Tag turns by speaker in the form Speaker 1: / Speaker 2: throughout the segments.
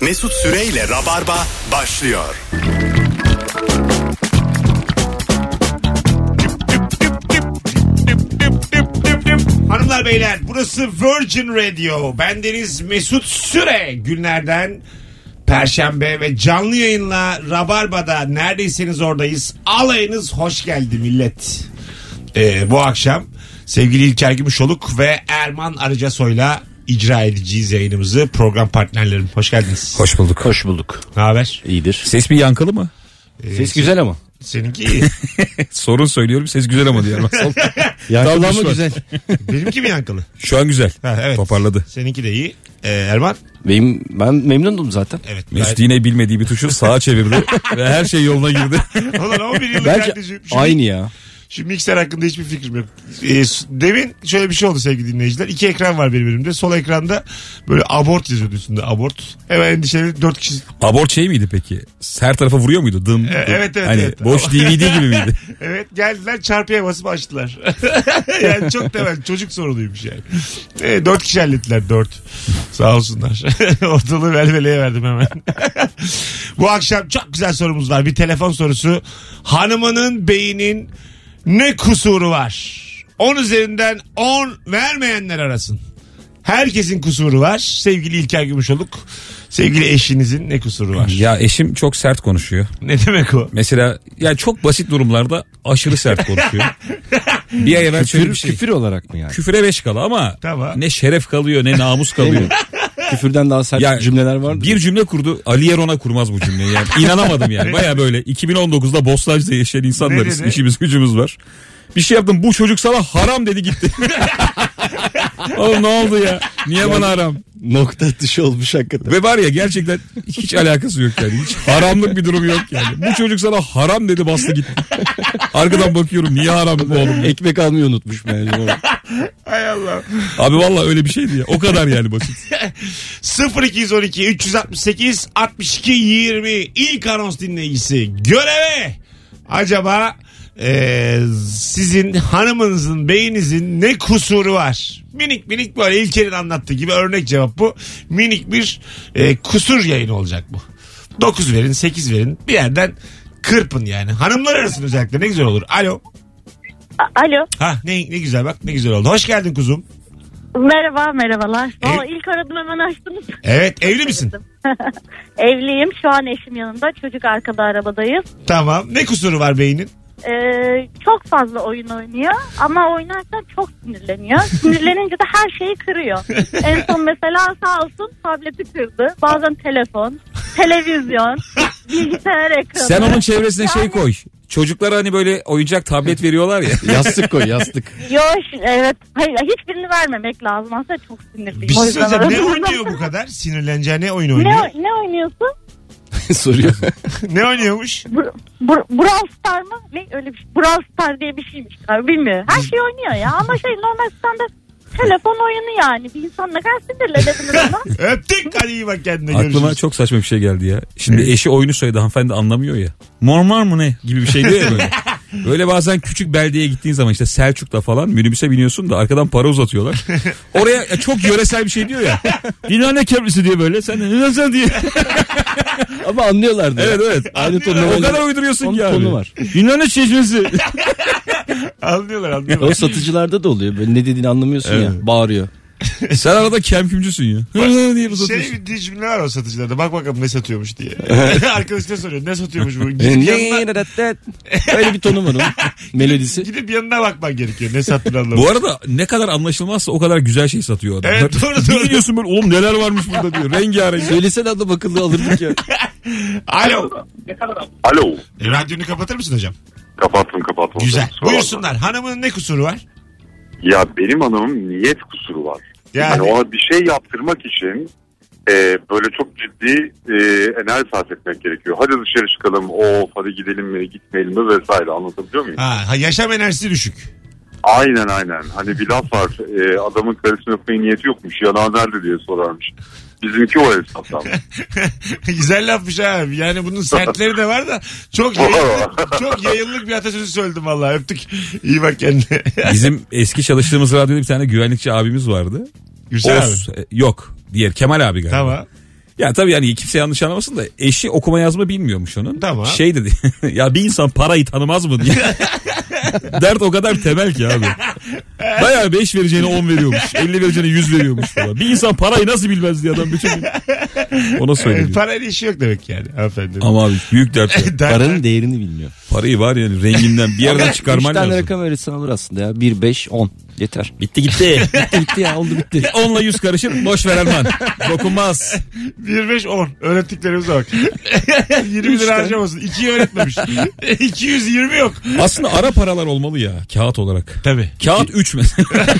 Speaker 1: Mesut Süreyle Rabarba başlıyor.
Speaker 2: Hanımlar beyler burası Virgin Radio. Bendeniz Mesut Süre. Günlerden Perşembe ve canlı yayınla Rabarba'da neredeyseniz oradayız. Alayınız hoş geldi millet. Ee, bu akşam sevgili İlker Gümüşoluk ve Erman Arıcasoy'la icra edeceğiz yayınımızı. Program partnerlerim hoş geldiniz.
Speaker 3: Hoş bulduk.
Speaker 4: Hoş bulduk.
Speaker 2: Ne haber?
Speaker 4: İyidir.
Speaker 3: Ses bir yankılı mı?
Speaker 4: Ses güzel ama.
Speaker 2: Seninki iyi.
Speaker 3: Sorun söylüyorum ses güzel ama diyor. Yankılı
Speaker 4: Yankılama
Speaker 3: mı
Speaker 4: güzel.
Speaker 2: Benimki mi yankılı?
Speaker 3: Şu an güzel.
Speaker 2: Ha, evet.
Speaker 3: Toparladı.
Speaker 2: Seninki de iyi. Ee, Erman?
Speaker 4: Benim, ben memnundum zaten.
Speaker 2: Evet.
Speaker 3: Mesut yine bilmediği bir tuşu sağa çevirdi ve her şey yoluna girdi.
Speaker 2: Ulan 11 yıllık
Speaker 4: Bence
Speaker 2: kardeşim. Şimdi-
Speaker 4: aynı ya.
Speaker 2: Şimdi mikser hakkında hiçbir fikrim yok. Ee, s- demin şöyle bir şey oldu sevgili dinleyiciler. İki ekran var benim elimde. Sol ekranda böyle abort yazıyordu üstünde abort. Hemen endişeli dört kişi.
Speaker 3: Abort şey miydi peki? Her tarafa vuruyor muydu? Dım, dım.
Speaker 2: E, evet, evet,
Speaker 3: Hani
Speaker 2: evet.
Speaker 3: boş DVD gibi miydi?
Speaker 2: Evet geldiler çarpıya basıp açtılar. yani çok temel çocuk sorunuymuş yani. Ee, dört kişi hallettiler dört. Sağ olsunlar. Ortalığı velveleye verdim hemen. Bu akşam çok güzel sorumuz var. Bir telefon sorusu. Hanımının beynin ne kusuru var? 10 üzerinden 10 vermeyenler arasın. Herkesin kusuru var. Sevgili İlker Gümüşoluk. Sevgili eşinizin ne kusuru var?
Speaker 3: Ya eşim çok sert konuşuyor.
Speaker 2: Ne demek o?
Speaker 3: Mesela yani çok basit durumlarda aşırı sert konuşuyor. bir ay evvel şöyle
Speaker 4: Küfür,
Speaker 3: bir şey.
Speaker 4: küfür olarak mı yani?
Speaker 3: Küfüre beş kala ama
Speaker 2: Tamam.
Speaker 3: ne şeref kalıyor ne namus
Speaker 4: Değil
Speaker 3: kalıyor.
Speaker 4: mi? Küfürden daha sert
Speaker 3: Ya,
Speaker 4: cümleler vardı.
Speaker 3: Bir cümle kurdu. Ali Yerona kurmaz bu cümleyi. Yani. İnanamadım yani. Baya böyle 2019'da Bostancı'da yaşayan insanlarız.
Speaker 2: Ne dedi?
Speaker 3: İşimiz gücümüz var. Bir şey yaptım bu çocuk sana haram dedi gitti. Oğlum ne oldu ya? Niye bana haram?
Speaker 4: Nokta dışı olmuş hakikaten.
Speaker 3: Ve var ya gerçekten hiç alakası yok yani. Hiç haramlık bir durum yok yani. Bu çocuk sana haram dedi bastı gitti. Arkadan bakıyorum niye haram bu oğlum? diye.
Speaker 4: Ekmek almayı unutmuş meğer.
Speaker 2: Hay Allah.
Speaker 3: Abi vallahi öyle bir şeydi ya. O kadar yani basit.
Speaker 2: 0212 368 62 20 ilk anons dinleyicisi göreve acaba e, sizin hanımınızın beyninizin ne kusuru var? Minik minik böyle İlker'in anlattığı gibi örnek cevap bu. Minik bir e, kusur yayını olacak bu. 9 verin 8 verin bir yerden kırpın yani. Hanımlar arasında özellikle ne güzel olur. Alo.
Speaker 5: Alo.
Speaker 2: Ha ne, ne güzel bak ne güzel oldu. Hoş geldin kuzum.
Speaker 5: Merhaba merhabalar.
Speaker 2: Ev-
Speaker 5: Valla ilk aradım hemen açtınız.
Speaker 2: Evet evli misin?
Speaker 5: Evliyim. Şu an eşim yanında. Çocuk arkada arabadayız.
Speaker 2: Tamam. Ne kusuru var beynin?
Speaker 5: Ee, çok fazla oyun oynuyor ama oynarken çok sinirleniyor. Sinirlenince de her şeyi kırıyor. en son mesela sağ olsun tableti kırdı. Bazen telefon, televizyon, bilgisayar ekranı.
Speaker 3: Sen onun çevresine şey koy. Çocuklara hani böyle oyuncak tablet veriyorlar ya.
Speaker 4: Yastık koy yastık.
Speaker 5: Yok evet. Hayır hiçbirini vermemek lazım. Aslında çok sinirliyim.
Speaker 2: Bir
Speaker 5: O
Speaker 2: şey
Speaker 5: yüzden
Speaker 2: söyleyeceğim. Ne
Speaker 5: aradım.
Speaker 2: oynuyor bu kadar? Sinirleneceği ne oyun
Speaker 5: Ne,
Speaker 2: oynuyor?
Speaker 5: ne oynuyorsun?
Speaker 4: Soruyor.
Speaker 2: ne oynuyormuş?
Speaker 5: Br- Br- Brawl Star mı? Ne öyle bir şey. Brawl Star diye bir şeymiş galiba bilmiyorum. Her şey oynuyor ya ama şey normal standart telefon oyunu yani. Bir insan ne kadar sinirlenebilir ona.
Speaker 2: Öptük. Hadi iyi bak kendine
Speaker 3: Aklıma
Speaker 2: görüşürüz.
Speaker 3: çok saçma bir şey geldi ya. Şimdi eşi oyunu söyledi hanımefendi anlamıyor ya. Mormar mı ne gibi bir şey diyor ya böyle. Böyle bazen küçük beldeye gittiğin zaman işte Selçuk'ta falan minibüse biniyorsun da arkadan para uzatıyorlar. Oraya e, çok yöresel bir şey diyor ya. Dinane köprüsü diye böyle. Sen de dinansen diye.
Speaker 4: Ama anlıyorlardı. ya.
Speaker 3: Evet evet.
Speaker 4: Aynı tonla
Speaker 3: O kadar
Speaker 4: oynuyor.
Speaker 3: uyduruyorsun
Speaker 4: Onun
Speaker 3: ki abi.
Speaker 4: tonu var.
Speaker 3: Yunan'ın çeşmesi.
Speaker 2: Anlıyorlar anlıyorlar.
Speaker 4: O satıcılarda da oluyor. Böyle ne dediğini anlamıyorsun ya. Bağırıyor.
Speaker 3: Sen arada kemkümcüsün ya. Hı hı diye uzatıyorsun.
Speaker 2: Şey bir diye cümle var o satıcılarda. Bak bakalım ne satıyormuş diye. Arkadaşına soruyor ne satıyormuş bu. Gidip yanına,
Speaker 4: Öyle bir tonu var onun. Melodisi.
Speaker 2: gidip yanına bakman gerekiyor. Ne sattığını anlamak.
Speaker 3: Bu arada ne kadar anlaşılmazsa o kadar güzel şey satıyor adam.
Speaker 2: Evet, doğru,
Speaker 3: Bir
Speaker 2: doğru. Şey
Speaker 3: gidiyorsun böyle oğlum neler varmış burada diyor. Rengarenk.
Speaker 4: Söylesene adam akıllı alırdık ya.
Speaker 2: Alo.
Speaker 6: Alo.
Speaker 2: E, radyonu kapatır mısın hocam?
Speaker 6: Kapattım kapattım.
Speaker 2: Güzel.
Speaker 6: Kusura bakma.
Speaker 2: Buyursunlar. Hanımın ne kusuru var?
Speaker 6: Ya benim hanımın niyet kusuru var.
Speaker 2: Yani-
Speaker 6: Yani, ona bir şey yaptırmak için e, böyle çok ciddi e, enerji sarf etmek gerekiyor. Hadi dışarı çıkalım of hadi gidelim mi gitmeyelim mi vesaire anlatabiliyor muyum?
Speaker 2: Ha, ha, yaşam enerjisi düşük.
Speaker 6: Aynen aynen. Hani bir laf var e, adamın karısını öpmeye niyeti yokmuş yalan nerede diye sorarmış. Bizimki o hesaptan.
Speaker 2: Güzel lafmış ha. Yani bunun sertleri de var da çok yayınlık, çok yayınlık bir atasözü söyledim vallahi. Öptük. İyi bak kendine.
Speaker 3: Bizim eski çalıştığımız radyoda bir tane güvenlikçi abimiz vardı.
Speaker 2: Güzel abi.
Speaker 3: Oğuz- e, yok. Diğer Kemal abi galiba.
Speaker 2: Tamam.
Speaker 3: Ya tabii yani kimse yanlış anlamasın da eşi okuma yazma bilmiyormuş onun.
Speaker 2: Tamam.
Speaker 3: Şey dedi ya bir insan parayı tanımaz mı diye. Dert o kadar temel ki abi. Bayağı 5 vereceğine 10 veriyormuş. 50 vereceğine 100 veriyormuş falan. Bir insan parayı nasıl bilmez diye adam bütün gün ona
Speaker 2: Ee,
Speaker 3: söyledi.
Speaker 2: parayla işi yok demek yani hanımefendi.
Speaker 3: Ama abi büyük dert. ya.
Speaker 2: Der-
Speaker 4: Paranın değerini bilmiyor.
Speaker 3: Parayı var yani renginden bir yerden çıkarman
Speaker 4: Üç tane
Speaker 3: lazım.
Speaker 4: rakam öğretsen olur aslında ya. 1, 5, 10. Yeter.
Speaker 3: Bitti gitti.
Speaker 4: Bitti bitti ya oldu bitti.
Speaker 3: 10 ile 100 karışır boş ver Erman. Dokunmaz.
Speaker 2: 1-5-10 öğrettiklerimize bak. 20 lira harcamasın. 2'yi öğretmemiş. 220 yok.
Speaker 3: Aslında ara paralar olmalı ya kağıt olarak.
Speaker 2: Tabii.
Speaker 3: Kağıt 3 mesela.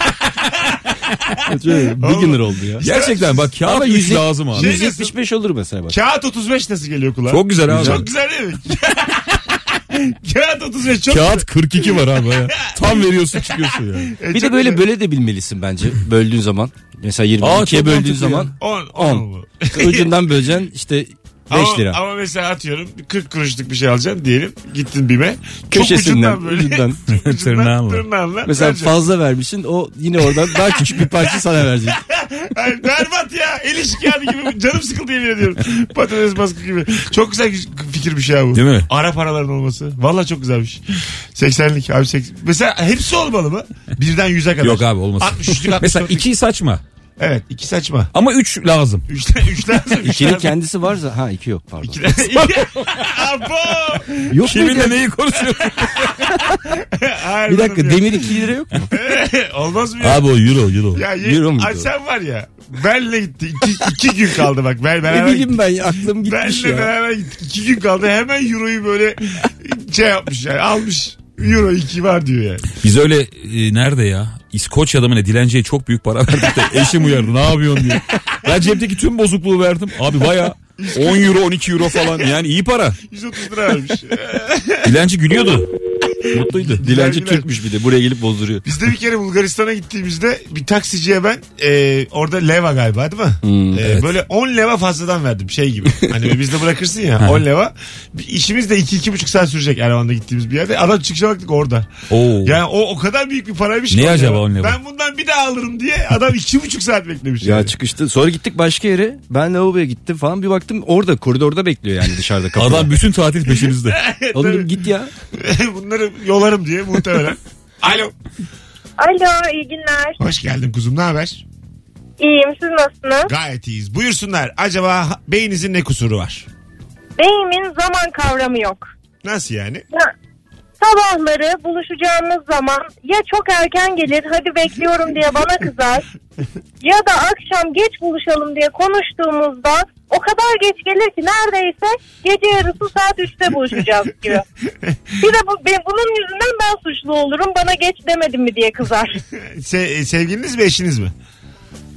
Speaker 4: bir gün lira oldu ya.
Speaker 3: Gerçekten bak kağıt
Speaker 4: Ama
Speaker 3: 3
Speaker 4: yüzde-
Speaker 3: lazım abi.
Speaker 4: 175 olur mesela bak.
Speaker 2: Kağıt 35 nasıl geliyor kulağa?
Speaker 3: Çok güzel abi.
Speaker 2: Çok güzel değil mi? Kağıt 35 çok
Speaker 3: Kağıt 42 var abi. ya. Tam veriyorsun çıkıyorsun yani.
Speaker 2: E,
Speaker 4: Bir
Speaker 2: çok
Speaker 4: de böyle
Speaker 2: güzel.
Speaker 4: böyle de bilmelisin bence böldüğün zaman. Mesela 20
Speaker 3: Aa,
Speaker 4: ikiye
Speaker 3: çok
Speaker 4: böldüğün
Speaker 3: mantıklı
Speaker 4: zaman
Speaker 2: 10 10
Speaker 4: On. ucundan böleceksin işte 5 lira.
Speaker 2: Ama mesela atıyorum 40 kuruşluk bir şey alacaksın diyelim. Gittin BİM'e. Çok
Speaker 4: Köşesinden,
Speaker 2: ucundan böyle.
Speaker 4: ucundan.
Speaker 2: Çok ucundan,
Speaker 3: Tırnağınla.
Speaker 2: Tırnağınla.
Speaker 4: Mesela
Speaker 2: vereceksin.
Speaker 4: fazla vermişsin o yine oradan daha küçük bir parça sana verecek.
Speaker 2: Ay berbat ya. El işi kağıdı gibi. Canım sıkıldı yemin ediyorum. Patates baskı gibi. Çok güzel fikirmiş şey ya bu.
Speaker 3: Değil mi?
Speaker 2: Ara paraların olması. Valla çok güzelmiş. 80'lik abi 80. Mesela hepsi olmalı mı? Birden 100'e kadar.
Speaker 3: Yok abi olmaz.
Speaker 2: 63'lük 64'lük.
Speaker 3: Mesela 2 saçma
Speaker 2: Evet 2 saçma.
Speaker 3: ama 3 lazım.
Speaker 2: 3'ten 3'ten
Speaker 4: İkinin kendisi varsa ha iki yok pardon.
Speaker 2: Abo.
Speaker 4: Yok
Speaker 3: Kiminle neyi konuşuyorsun?
Speaker 2: Hayır,
Speaker 4: Bir dakika
Speaker 2: oğlum ya.
Speaker 4: demir 2 lira yok mu?
Speaker 2: Olmaz mı ya?
Speaker 3: abi o euro euro.
Speaker 2: Ya ye-
Speaker 4: Euro muydu
Speaker 2: Ay
Speaker 4: o?
Speaker 2: sen var ya. Benle gitti. İki, iki gün kaldı bak. Ben
Speaker 4: Ne
Speaker 2: beraber
Speaker 4: bileyim ben ya, aklım gitmiş
Speaker 2: Benle
Speaker 4: ya.
Speaker 2: beraber gittik. İki gün kaldı. Hemen euroyu böyle şey yapmış yani. Almış. Euro 2 var diyor yani.
Speaker 3: Biz öyle e, nerede ya? İskoçya'da mı ne dilenciye çok büyük para verdik de eşim uyardı ne yapıyorsun diye. Ben cebdeki tüm bozukluğu verdim. Abi baya 10 euro 12 euro falan yani iyi para.
Speaker 2: 130 lira vermiş.
Speaker 3: Dilenci gülüyordu. Mutluydu.
Speaker 4: Dilenci
Speaker 2: Vergiler.
Speaker 4: Türkmüş bir de buraya gelip bozduruyor.
Speaker 2: Biz de bir kere Bulgaristan'a gittiğimizde bir taksiciye ben e, orada leva galiba değil mi?
Speaker 4: Hmm,
Speaker 2: E, Böyle 10 leva fazladan verdim şey gibi. Hani bizde bırakırsın ya 10 leva. Bir işimiz de 2-2,5 saat sürecek Ervan'da gittiğimiz bir yerde. Adam çıkışa baktık orada.
Speaker 3: Oo.
Speaker 2: Yani o o kadar büyük bir paraymış
Speaker 3: Ne
Speaker 2: ki.
Speaker 3: acaba on leva?
Speaker 2: Ben bundan bir daha alırım diye adam 2,5 saat beklemiş.
Speaker 4: Ya
Speaker 2: yani.
Speaker 4: çıkıştı. Sonra gittik başka yere. Ben lavaboya gittim falan bir baktım orada koridorda bekliyor yani dışarıda kapıda.
Speaker 3: Adam bütün tatil peşinizde.
Speaker 4: Oğlum dedim, git ya.
Speaker 2: Bunları yolarım diye muhtemelen. Alo.
Speaker 5: Alo iyi günler.
Speaker 2: Hoş geldin kuzum ne haber?
Speaker 5: İyiyim siz nasılsınız?
Speaker 2: Gayet iyiyiz. Buyursunlar. Acaba ha- beyninizin ne kusuru var?
Speaker 5: Beynimin zaman kavramı yok.
Speaker 2: Nasıl yani?
Speaker 5: Ya, sabahları buluşacağımız zaman ya çok erken gelir hadi bekliyorum diye bana kızar ya da akşam geç buluşalım diye konuştuğumuzda o kadar geç gelir ki neredeyse gece yarısı saat 3'te buluşacağız gibi. Bir de bu, be- bunun yüzünden ben suçlu olurum bana geç demedin mi diye kızar
Speaker 2: Se- sevgiliniz mi eşiniz mi?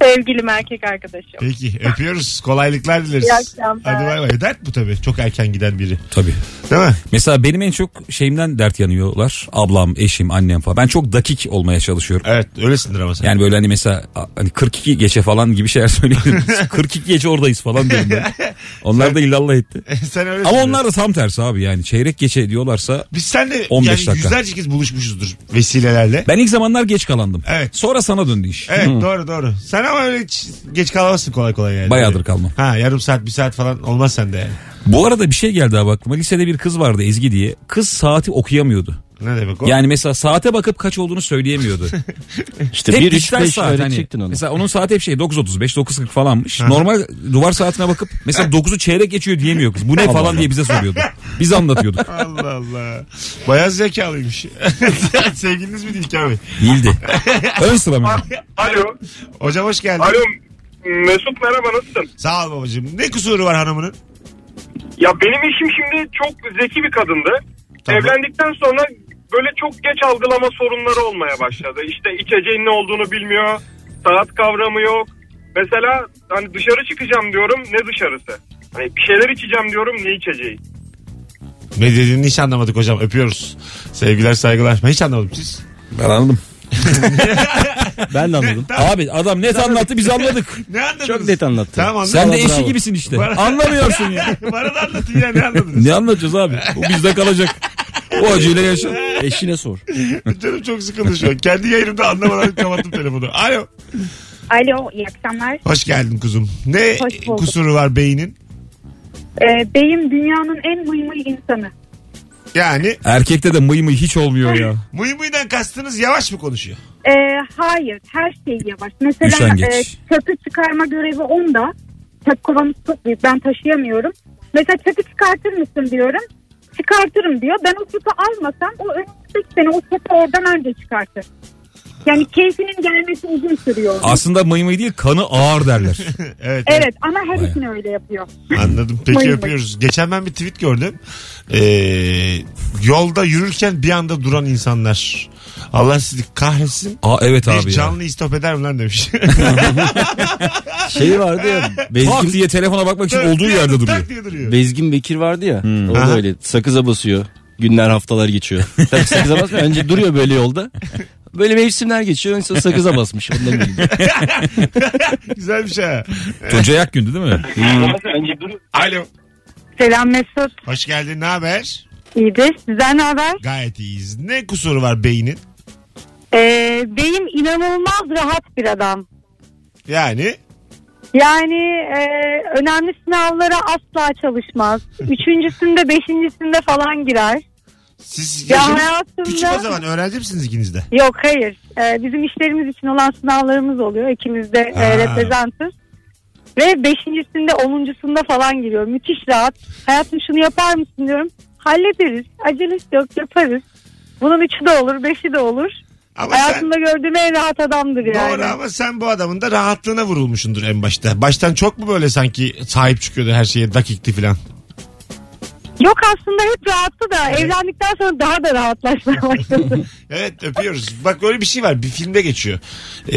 Speaker 5: sevgilim erkek arkadaşım.
Speaker 2: Peki öpüyoruz. Kolaylıklar dileriz.
Speaker 5: İyi akşamlar.
Speaker 2: Hadi bay bay. Dert bu tabii. Çok erken giden biri.
Speaker 3: Tabii.
Speaker 2: Değil mi?
Speaker 3: Mesela benim en çok şeyimden dert yanıyorlar. Ablam, eşim, annem falan. Ben çok dakik olmaya çalışıyorum.
Speaker 2: Evet öylesindir ama sen.
Speaker 3: Yani böyle hani mesela a- hani 42 geçe falan gibi şeyler söylüyorum. 42 geçe oradayız falan diyorum ben. Onlar da illallah etti.
Speaker 2: sen öylesin.
Speaker 3: Ama onlar da tam tersi abi yani. Çeyrek geçe diyorlarsa
Speaker 2: Biz seninle
Speaker 3: 15
Speaker 2: yani
Speaker 3: dakika.
Speaker 2: yüzlerce kez buluşmuşuzdur vesilelerle.
Speaker 3: ben ilk zamanlar geç kalandım.
Speaker 2: Evet.
Speaker 3: Sonra sana döndü iş.
Speaker 2: Evet doğru doğru. Sen ama öyle hiç geç kalamazsın kolay kolay yani.
Speaker 3: Bayağıdır kalmam.
Speaker 2: Ha yarım saat bir saat falan olmaz sende yani.
Speaker 3: Bu arada bir şey geldi abi aklıma. Lisede bir kız vardı Ezgi diye. Kız saati okuyamıyordu.
Speaker 2: Ne demek o?
Speaker 3: Yani mesela saate bakıp kaç olduğunu söyleyemiyordu.
Speaker 4: İşte
Speaker 3: Hep
Speaker 4: 1 3
Speaker 3: dijital
Speaker 4: 5
Speaker 3: saat hani.
Speaker 4: öğretecektin onu.
Speaker 3: Mesela onun saati hep şey 9.35 9.40 falanmış. Normal duvar saatine bakıp mesela 9'u çeyrek geçiyor diyemiyor kız. Bu ne falan diye bize soruyordu. Biz anlatıyorduk.
Speaker 2: Allah Allah. Bayağı zekalıymış. Sevgiliniz mi değil ki abi?
Speaker 3: Değildi. Ön sıra mı?
Speaker 6: Alo.
Speaker 2: Hocam hoş geldin.
Speaker 6: Alo. Mesut merhaba nasılsın?
Speaker 2: Sağ ol babacığım. Ne kusuru var hanımının?
Speaker 6: Ya benim eşim şimdi çok zeki bir kadındı.
Speaker 2: Tamam.
Speaker 6: Evlendikten sonra böyle çok geç algılama sorunları olmaya başladı. İşte içeceğin ne olduğunu bilmiyor. Saat kavramı yok. Mesela hani dışarı çıkacağım diyorum ne dışarısı? Hani bir şeyler içeceğim diyorum ne içeceği?
Speaker 2: Ne dediğini hiç anlamadık hocam. Öpüyoruz. Sevgiler saygılar. Ben hiç anlamadım siz.
Speaker 3: Ben anladım.
Speaker 4: Ben de anladım.
Speaker 3: Abi adam net anlattı biz anladık.
Speaker 2: Ne anladınız?
Speaker 4: Çok net anlattı.
Speaker 2: Tamam anladım.
Speaker 3: Sen de
Speaker 4: Bravo,
Speaker 3: eşi
Speaker 4: bravo.
Speaker 3: gibisin işte.
Speaker 2: Bana-
Speaker 3: Anlamıyorsun ya.
Speaker 2: Bana da anlatın ya ne anladınız?
Speaker 3: Ne anlatacağız abi? Bu bizde kalacak. O acıyla yaşa.
Speaker 4: Eşine sor.
Speaker 2: Canım çok sıkıldı şu an. Kendi yayınımda anlamadan kapattım telefonu. Alo.
Speaker 5: Alo iyi akşamlar.
Speaker 2: Hoş geldin kuzum. Ne
Speaker 5: Hoş bulduk.
Speaker 2: kusuru var beynin?
Speaker 5: Ee, beyim dünyanın en mıy mıy insanı.
Speaker 2: Yani
Speaker 3: Erkekte de mıy mıy hiç olmuyor ya.
Speaker 2: mıy mıydan kastınız yavaş mı konuşuyor?
Speaker 5: Ee, hayır her şey yavaş. Mesela
Speaker 3: Üşengeç.
Speaker 5: e, çöpü çıkarma görevi onda. Çöp kovanız çok büyük ben taşıyamıyorum. Mesela çöpü çıkartır mısın diyorum. Çıkartırım diyor. Ben o çöpü almasam o önümüzdeki sene o çöpü oradan önce çıkartır. Yani keyfinin gelmesi uzun sürüyor.
Speaker 3: Aslında mıy mıy değil kanı ağır derler.
Speaker 2: Evet, evet.
Speaker 5: Evet ama her
Speaker 3: Bayağı.
Speaker 5: işini öyle yapıyor.
Speaker 2: Anladım. Peki
Speaker 5: Mıy mıy.
Speaker 2: öpüyoruz. Geçen ben bir tweet gördüm. Ee, yolda yürürken bir anda duran insanlar. Allah sizi kahretsin.
Speaker 3: Aa evet
Speaker 2: Bir
Speaker 3: abi
Speaker 2: canlı istop eder mi lan demiş.
Speaker 4: Şey vardı ya.
Speaker 3: ya. Tak
Speaker 4: Bezgin,
Speaker 3: diye telefona bakmak için olduğu
Speaker 2: Bir anda
Speaker 3: yerde
Speaker 2: tak
Speaker 3: duruyor.
Speaker 2: diye duruyor.
Speaker 4: Bezgin Bekir vardı ya. O da
Speaker 2: Aha.
Speaker 4: öyle sakıza basıyor. Günler haftalar geçiyor. Tabii sakıza basmıyor. Önce duruyor böyle yolda. Böyle mevsimler geçiyor. İşte sakıza basmış. Ondan bilmiyorum.
Speaker 2: Güzel bir şey. ha.
Speaker 3: Tunca Akgün'dü değil mi?
Speaker 2: Hmm. Alo.
Speaker 5: Selam Mesut.
Speaker 2: Hoş geldin. Ne haber?
Speaker 5: İyidir. Sizden ne haber?
Speaker 2: Gayet iyiyiz. Ne kusuru var beynin?
Speaker 5: Ee, beyim inanılmaz rahat bir adam.
Speaker 2: Yani
Speaker 5: Yani e, önemli sınavlara asla çalışmaz. Üçüncüsünde, beşincisinde falan girer.
Speaker 2: siz
Speaker 5: Ya
Speaker 2: yaşınız
Speaker 5: hayatımda-
Speaker 2: küçük o zaman öğrenci misiniz ikiniz de?
Speaker 5: Yok hayır. Ee, bizim işlerimiz için olan sınavlarımız oluyor. İkimiz de
Speaker 2: Ha.
Speaker 5: e, reprezentız. Ve beşincisinde, onuncusunda falan giriyor. Müthiş rahat. Hayatım şunu yapar mısın diyorum. Hallederiz. Acelesi yok yaparız. Bunun üçü de olur, beşi de olur.
Speaker 2: Ama sen,
Speaker 5: Hayatımda gördüğüm en rahat adamdır yani.
Speaker 2: doğru ama sen bu adamın da rahatlığına vurulmuşsundur en başta. Baştan çok mu böyle sanki sahip çıkıyordu her şeye dakikti falan?
Speaker 5: Yok aslında hep rahattı da evlendikten sonra daha da rahatlaşmaya başladı.
Speaker 2: Evet öpüyoruz. Bak öyle bir şey var. Bir filmde geçiyor. Ee,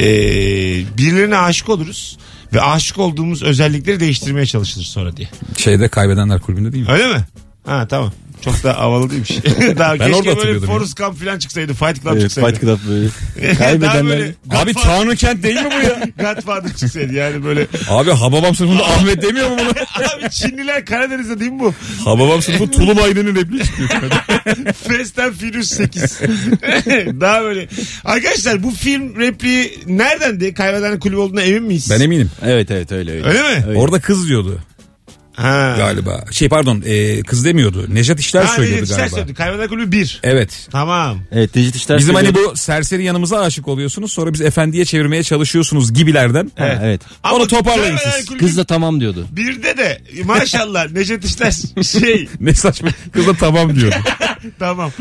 Speaker 2: birilerine aşık oluruz ve aşık olduğumuz özellikleri değiştirmeye çalışılır sonra diye.
Speaker 3: Şeyde kaybedenler kulübünde değil mi?
Speaker 2: Öyle mi? Ha tamam. Çok da havalı değilmiş. Daha
Speaker 3: Ben orada
Speaker 2: keşke böyle
Speaker 3: hatırlıyordum
Speaker 2: Forrest Gump falan çıksaydı. Fight Club
Speaker 4: Evet,
Speaker 2: çıksaydı.
Speaker 4: Fight Club böyle.
Speaker 2: Daha
Speaker 4: Kaybedenler.
Speaker 2: böyle
Speaker 3: Abi
Speaker 2: Godfather-
Speaker 3: Tanrı kent değil mi bu ya?
Speaker 2: Godfather çıksaydı yani böyle.
Speaker 3: Abi Hababam sınıfında Ahmet demiyor mu bunu?
Speaker 2: Abi Çinliler Karadeniz'de değil mi bu?
Speaker 3: Hababam sınıfı Tulum Aydın'ın repliği çıkıyor.
Speaker 2: Fast and Furious 8. Daha böyle. Arkadaşlar bu film repliği nereden diye kaybeden kulübü olduğuna emin miyiz?
Speaker 3: ben eminim.
Speaker 4: Evet evet öyle öyle.
Speaker 2: Öyle mi?
Speaker 4: Evet.
Speaker 3: Orada kız diyordu
Speaker 2: Ha.
Speaker 3: galiba. Şey pardon e, kız demiyordu. Nejat İşler
Speaker 2: Ha,
Speaker 3: söylüyordu
Speaker 2: Necdet İşler
Speaker 3: galiba.
Speaker 2: söyledi. Kaybeden kulübü 1.
Speaker 3: Evet.
Speaker 2: Tamam.
Speaker 4: Evet Necdet İşler
Speaker 3: Bizim hani
Speaker 4: söylüyor.
Speaker 3: bu serseri yanımıza aşık oluyorsunuz sonra biz efendiye çevirmeye çalışıyorsunuz gibilerden. Hani
Speaker 4: Ha, Evet.
Speaker 3: Onu toparlayın
Speaker 2: Kaybeden
Speaker 3: siz.
Speaker 2: Kulübü
Speaker 4: Kız da tamam diyordu.
Speaker 2: Birde de maşallah Necdet İşler şey
Speaker 3: Ne saçma. Kız da tamam diyordu.
Speaker 2: tamam.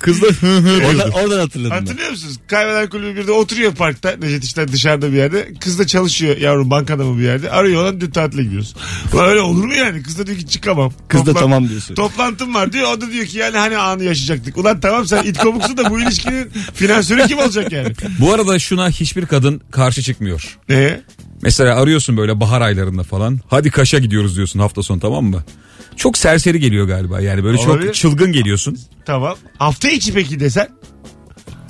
Speaker 3: Kız da hı hı
Speaker 4: Oradan,
Speaker 3: diyordu.
Speaker 4: oradan hatırladım ben.
Speaker 2: Hatırlıyor musunuz? Kaybeden kulübü 1'de oturuyor parkta. Necdet İşler dışarıda bir yerde. Kız da çalışıyor yavrum bankada mı bir yerde. Arıyor lan dün tatile gidiyoruz. Ulan öyle olur mu yani? Kız da diyor ki çıkamam.
Speaker 4: Kız da
Speaker 2: Toplan-
Speaker 4: tamam diyorsun.
Speaker 2: Toplantım var diyor. O da diyor ki yani hani anı yaşayacaktık. Ulan tamam sen it komuksun da bu ilişkinin finansörü kim olacak yani?
Speaker 3: Bu arada şuna hiçbir kadın karşı çıkmıyor.
Speaker 2: Ne?
Speaker 3: Mesela arıyorsun böyle bahar aylarında falan. Hadi Kaş'a gidiyoruz diyorsun hafta sonu tamam mı? Çok serseri geliyor galiba yani böyle
Speaker 2: Olabilir.
Speaker 3: çok çılgın geliyorsun.
Speaker 2: Tamam. Hafta içi peki desen.